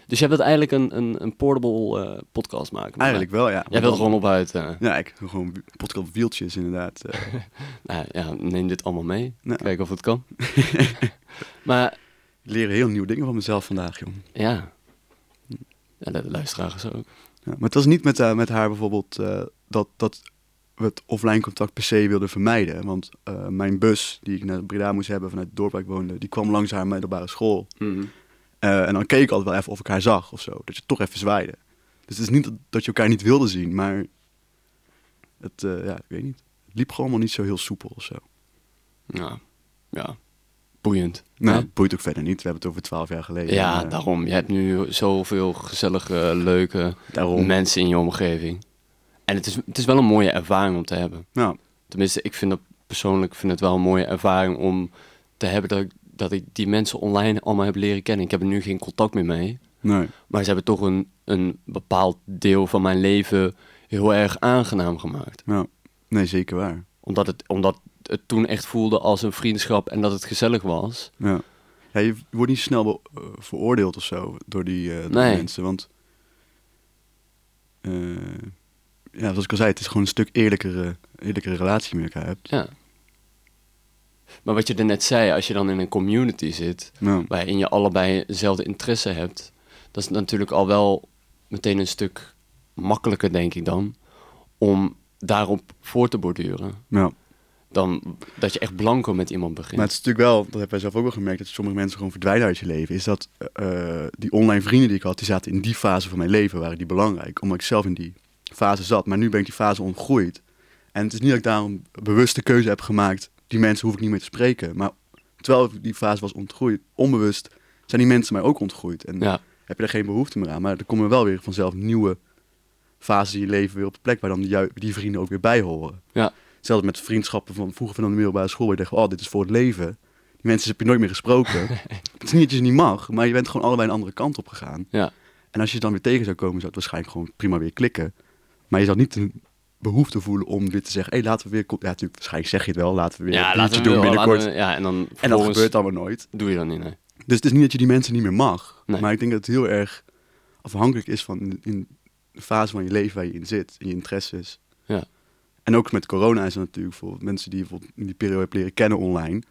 Dus jij wilt eigenlijk een, een, een portable eh, podcast maken. maar
Eigenlijk wel, ja.
Jij wilt er gewoon op uit. eh,
Ja, ik doe gewoon podcast wieltjes inderdaad. eh.
nou ja, neem dit allemaal mee.
Ja.
Kijken of het kan. maar
Ik leer heel nieuwe dingen van mezelf vandaag, jong.
ja. ja, de luisteraars ook.
Ja, maar het was niet met, eh, met haar bijvoorbeeld eh, dat, dat we het offline contact per se wilden vermijden. Want eh, mijn bus, die ik naar Breda moest hebben vanuit het dorp waar ik woonde, die kwam langs haar middelbare school. Eh, en dan keek ik altijd wel even of ik haar zag of zo. Dat je toch even zwaaide. Dus het is niet dat, dat je elkaar niet wilde zien, maar het, eh, ja, ik weet niet. Het liep gewoon allemaal niet zo heel soepel of zo.
Ja. ja, boeiend.
Nou,
hè?
het boeit ook verder niet. We hebben het over twaalf jaar geleden.
Ja,
En, eh,
daarom. Je hebt nu zoveel gezellige, leuke
daarom.
mensen in je omgeving. En het is, het is wel een mooie ervaring om te hebben.
Nou,
Tenminste, ik vind dat persoonlijk vind het wel een mooie ervaring om te hebben dat ik, dat ik die mensen online allemaal heb leren kennen. Ik heb er nu geen contact meer mee.
nee.
Maar ze hebben toch een, een bepaald deel van mijn leven heel erg aangenaam gemaakt.
Nou, nee, zeker waar.
Omdat het, omdat het toen echt voelde als een vriendschap en dat het gezellig was.
Ja. ja, je wordt niet snel be- eh, veroordeeld of zo door die, eh, door die
Nee.
mensen. Want, eh, ja, zoals ik al zei, het is gewoon een stuk eerlijkere, eerlijkere relatie met elkaar hebt.
Ja. Maar wat je er net zei, als je dan in een community zit,
Nou,
waarin je allebei dezelfde interesse hebt, dat is natuurlijk al wel meteen een stuk makkelijker, denk ik dan, om daarop voor te borduren.
nou.
Dan dat je echt blanco met iemand begint.
Maar het is natuurlijk wel, dat hebben wij zelf ook wel gemerkt, dat sommige mensen gewoon verdwijnen uit je leven. Is dat eh, die online vrienden die ik had, die zaten in die fase van mijn leven, waren die belangrijk. Omdat ik zelf in die fase zat. Maar nu ben ik die fase ontgroeid. En het is niet dat ik daarom bewust de keuze heb gemaakt, die mensen hoef ik niet meer te spreken. Maar terwijl ik die fase was ontgroeid, onbewust, zijn die mensen mij ook ontgroeid. En
Ja,
heb je er geen behoefte meer aan. Maar er komen wel weer vanzelf nieuwe fases in je leven weer op de plek waar dan die, ju- die vrienden ook weer bij horen.
Ja.
Hetzelfde met vriendschappen van vroeger van de middelbare school. Waar je dacht, oh, dit is voor het leven. Die mensen heb je nooit meer gesproken. het is niet dat je ze niet mag, maar je bent gewoon allebei een andere kant op gegaan.
ja.
En als je ze dan weer tegen zou komen, zou het waarschijnlijk gewoon prima weer klikken. Maar je zou niet de behoefte voelen om weer te zeggen, hé, laten we weer... ko- Ja, natuurlijk, waarschijnlijk zeg je het wel. Laten we weer
ja
een biertje doen
wel,
binnenkort.
laten we- ja, en dan
En dat
vervolgens
gebeurt allemaal nooit.
doe je dan niet. Nee.
Dus het is niet dat je die mensen niet meer mag.
Nee.
Maar ik denk dat het heel erg afhankelijk is van in- in de fase van je leven waar je in zit, in je interesses.
Ja.
En ook met corona is dat natuurlijk voor mensen die je bijvoorbeeld in die periode hebt leren kennen online.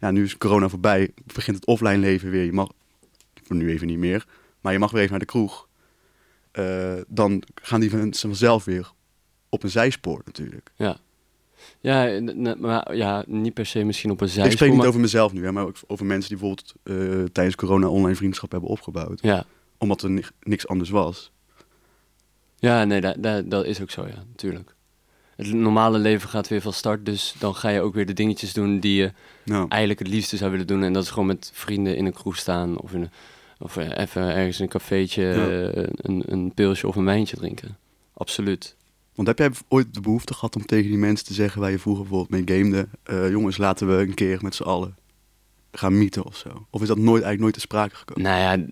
Ja, nu is corona voorbij, begint het offline leven weer. Je mag, voor nu even niet meer, maar je mag weer even naar de kroeg. Eh, dan gaan die mensen vanzelf weer op een zijspoor natuurlijk.
Ja. Ja, n- n- maar ja, niet per se misschien op een zijspoor.
ik spreek niet
maar-
over mezelf nu, hè, maar ook over mensen die bijvoorbeeld eh, tijdens corona online vriendschap hebben opgebouwd.
Ja,
Omdat er ni- niks anders was.
ja nee, dat, dat, dat is ook zo, ja, natuurlijk. Het normale leven gaat weer van start, dus dan ga je ook weer de dingetjes doen die je
Nou,
eigenlijk het liefste zou willen doen. En dat is gewoon met vrienden in een kroeg staan of, in een, of eh, even ergens in een cafeetje
Ja.
eh, een, een pilsje of een wijntje drinken. Absoluut.
want heb jij ooit de behoefte gehad om tegen die mensen te zeggen waar je vroeger bijvoorbeeld mee gamede, eh, jongens, laten we een keer met z'n allen gaan mieten of zo? Of is dat nooit, eigenlijk nooit te sprake gekomen?
Nou ja,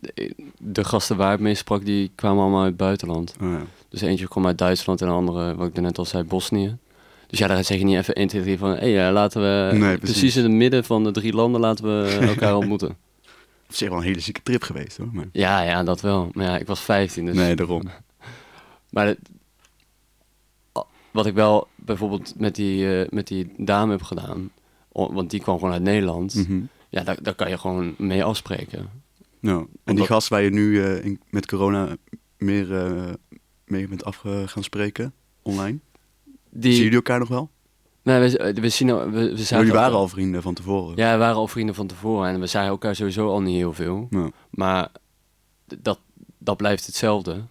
de gasten waar ik mee sprak, die kwamen allemaal uit het buitenland.
Oh, ja.
Dus eentje kwam uit Duitsland en de andere, wat ik net al zei, Bosnië. Dus ja, daar zeg je niet even 1, 2, 3 van... hé, eh, laten we
Nee,
precies.
precies
in het midden van de drie landen laten we elkaar ontmoeten.
Op zich wel een hele zieke trip geweest hoor. Maar...
Ja, ja, dat wel. Maar ja, ik was 15, dus...
Nee, daarom.
Maar het- a- wat ik wel bijvoorbeeld met die, eh, met die dame heb gedaan... o- want die kwam gewoon uit Nederland.
Mhm.
Ja, daar, daar kan je gewoon mee afspreken.
Nou, en die
Omdat-
gast waar je nu eh, in- met corona meer eh, mee bent af gaan spreken, online,
Die,
zien Dus jullie elkaar nog wel? Oh,
Nee, we, we, zien, we, we zagen...
jullie waren
elkaar-
al vrienden van tevoren.
Ja, we waren al vrienden van tevoren. En we zagen elkaar sowieso al niet heel veel.
Nou,
Maar d- dat, dat blijft hetzelfde.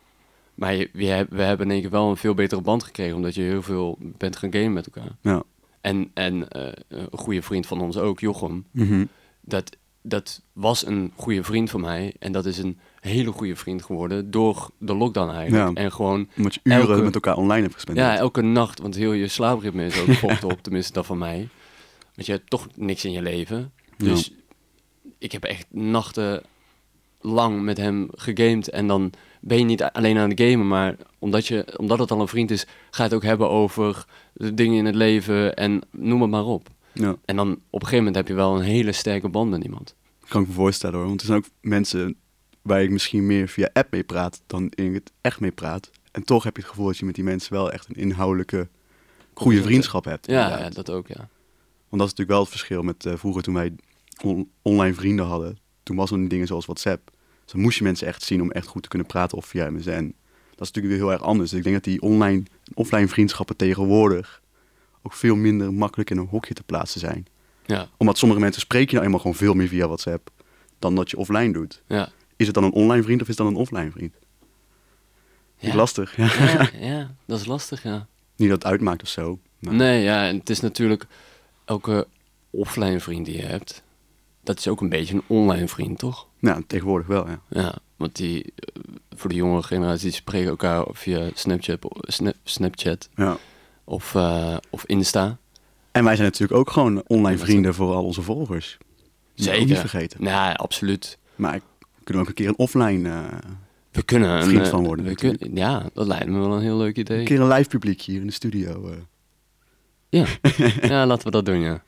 Maar je, je hebt- we hebben in één keer wel een veel betere band gekregen, omdat je heel veel bent gaan gamen met elkaar.
nou.
En, en eh, een goede vriend van ons ook, Jochem,
Mhm.
dat, dat was een goede vriend van mij. En dat is een hele goede vriend geworden door de lockdown eigenlijk.
Ja.
En gewoon,
Omdat je uren
Elke-
met elkaar online hebt gespendeerd.
ja, elke nacht, want heel je slaapritme is ook fokt op, tenminste dat van mij. Want je hebt toch niks in je leven. Dus ik heb echt nachten lang met hem gegamed. En dan ben je niet alleen aan het gamen, maar omdat, je, omdat het al een vriend is, ga je het ook hebben over de dingen in het leven en noem het maar op.
Ja,
En dan op een gegeven moment heb je wel een hele sterke band met iemand.
kan ik me voorstellen hoor. Want er zijn ook mensen waar ik misschien meer via app mee praat dan in het echt mee praat. En toch heb je het gevoel dat je met die mensen wel echt een inhoudelijke goede vriendschap hebt.
Ja, ja,
inderdaad.
dat ook, ja.
Want dat is natuurlijk wel het verschil met eh, vroeger toen wij on- online vrienden hadden. Toen was er niet dingen zoals WhatsApp. Dus dan moest je mensen echt zien om echt goed te kunnen praten of via MSN. Dat is natuurlijk weer heel erg anders. Dus ik denk dat die online en offline vriendschappen tegenwoordig ook veel minder makkelijk in een hokje te plaatsen zijn.
Ja,
Omdat sommige mensen spreek je nou eenmaal gewoon veel meer via WhatsApp dan dat je offline doet.
ja.
Is het dan een online vriend of is het dan een offline vriend? Niet
Ja.
lastig. Ja.
Ja, ja, dat is lastig, ja.
Niet dat het uitmaakt of zo. maar-
Nee, ja, en het is natuurlijk elke offline vriend die je hebt, dat is ook een beetje een online vriend, toch?
Nou, tegenwoordig wel, ja.
Ja, want die, eh, voor de jongere generatie, die spreken elkaar via Snapchat, o- Sna- Snapchat
ja.
of, eh, of Insta.
En wij zijn natuurlijk ook gewoon online vrienden voor al onze volgers. Dat moet je ook Niet vergeten.
Ja, absoluut.
Maar ik- we kunnen ook een keer een offline, eh,
We kunnen een,
Vriend
eh,
van worden,
We
natuurlijk.
kun- ja, dat lijkt me wel een heel leuk idee.
een keer een live publiek hier in de studio.
Oh,
eh.
Ja. ja, laten we dat doen, ja.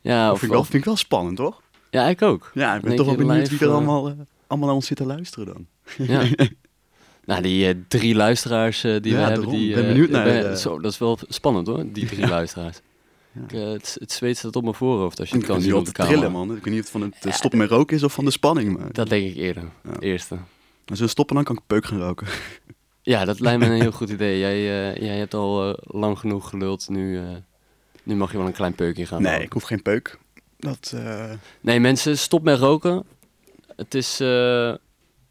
Ja,
dat
of,
vind, ik wel,
of-
vind ik wel spannend, toch?
ja ik ook.
Ja, ik
Denk
ben toch
je
wel benieuwd
live,
wie er
eh,
allemaal, eh, allemaal naar ons zit te luisteren dan.
Ja. nou, die eh, drie luisteraars eh, die
Ja,
we hebben.
daarom.
Die,
Ik ben
eh,
benieuwd naar,
ben-
eh,
zo, dat is wel spannend hoor, die drie luisteraars. Ik, eh, het, het zweet staat op mijn voorhoofd als je
Ik
het kan
kan
zien
hier
op
op
de
te
camera.
trillen, man. Ik weet niet of het van het eh, stoppen met roken is of van de spanning. Maar
Dat denk ik eerder.
Ja.
Eerste.
als we stoppen, dan kan ik peuk gaan roken.
Ja, dat lijkt me een heel goed idee. Jij, eh, jij hebt al eh, lang genoeg geluld. Nu, eh, nu mag je wel een klein peukje gaan.
nee,
houden.
ik hoef geen peuk. Dat, eh,
Nee, mensen, stop met roken. Het is eh,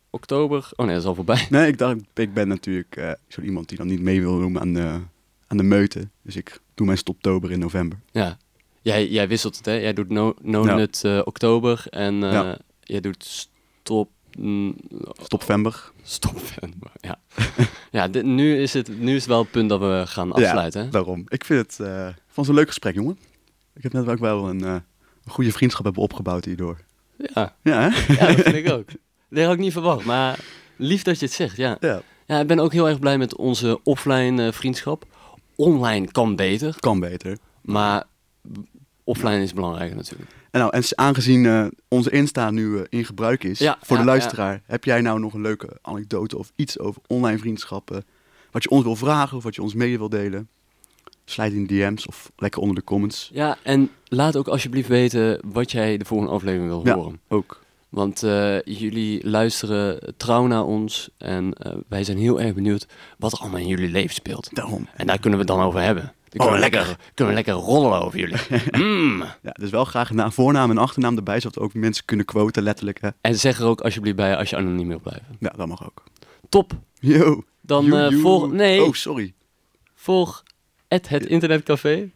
oktober. Oh nee, dat is al voorbij.
Nee, ik dacht, ik ben natuurlijk eh, zo iemand die dan niet mee wil doen aan de, aan de meute. Dus ik doe mijn stoptober in november.
Ja. Jij, jij wisselt het, hè? Jij doet no, no
Ja.
nut eh, oktober en eh,
Ja.
jij doet stop... mm,
Stopvember.
stop. Ja, ja dit- nu, is het, nu is het wel het punt dat we gaan afsluiten, hè?
Daarom. Ik vind het eh van zo'n leuk gesprek, jongen. Ik heb net ook wel een, eh, een goede vriendschap hebben opgebouwd hierdoor.
Ja.
Ja, hè?
ja, dat vind ik ook. Dat had ik niet verwacht, maar lief dat je het zegt, ja.
Ja,
Ja, ik ben ook heel erg blij met onze offline eh, vriendschap. Online kan beter,
kan beter.
maar b- offline is belangrijker natuurlijk.
En, nou, en s- aangezien eh, onze Insta nu eh, in gebruik is
Ja,
voor
ja,
de luisteraar, heb jij nou nog een leuke anekdote of iets over online vriendschappen? Wat je ons wil vragen of wat je ons mee wil delen? Slijt in de DM's of lekker onder de comments.
Ja, en laat ook alsjeblieft weten wat jij de volgende aflevering wil
Ja.
horen.
Ook.
Want eh, jullie luisteren eh, trouw naar ons en eh, wij zijn heel erg benieuwd wat er allemaal in jullie leven speelt.
Daarom.
En daar kunnen we het dan over hebben. Dan kunnen, we
Oh, lekker.
lekker, kunnen we lekker rollen over jullie. Mm.
Ja, dus wel graag na voornaam en achternaam erbij, zodat we ook mensen kunnen quoten, letterlijk. Hè?
En zeg er ook alsjeblieft bij als je anoniem wil blijven.
Ja, dat mag ook.
Top.
Yo.
Dan
Joe,
eh,
joe.
volg... Nee,
Oh, sorry.
volg het, het internetcafé.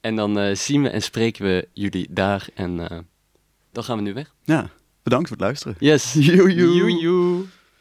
En dan eh, zien we en spreken we jullie daar. En eh, dan gaan we nu weg.
Ja, bedankt voor het luisteren.
Yes.
Joe, joe.
Joe, joe.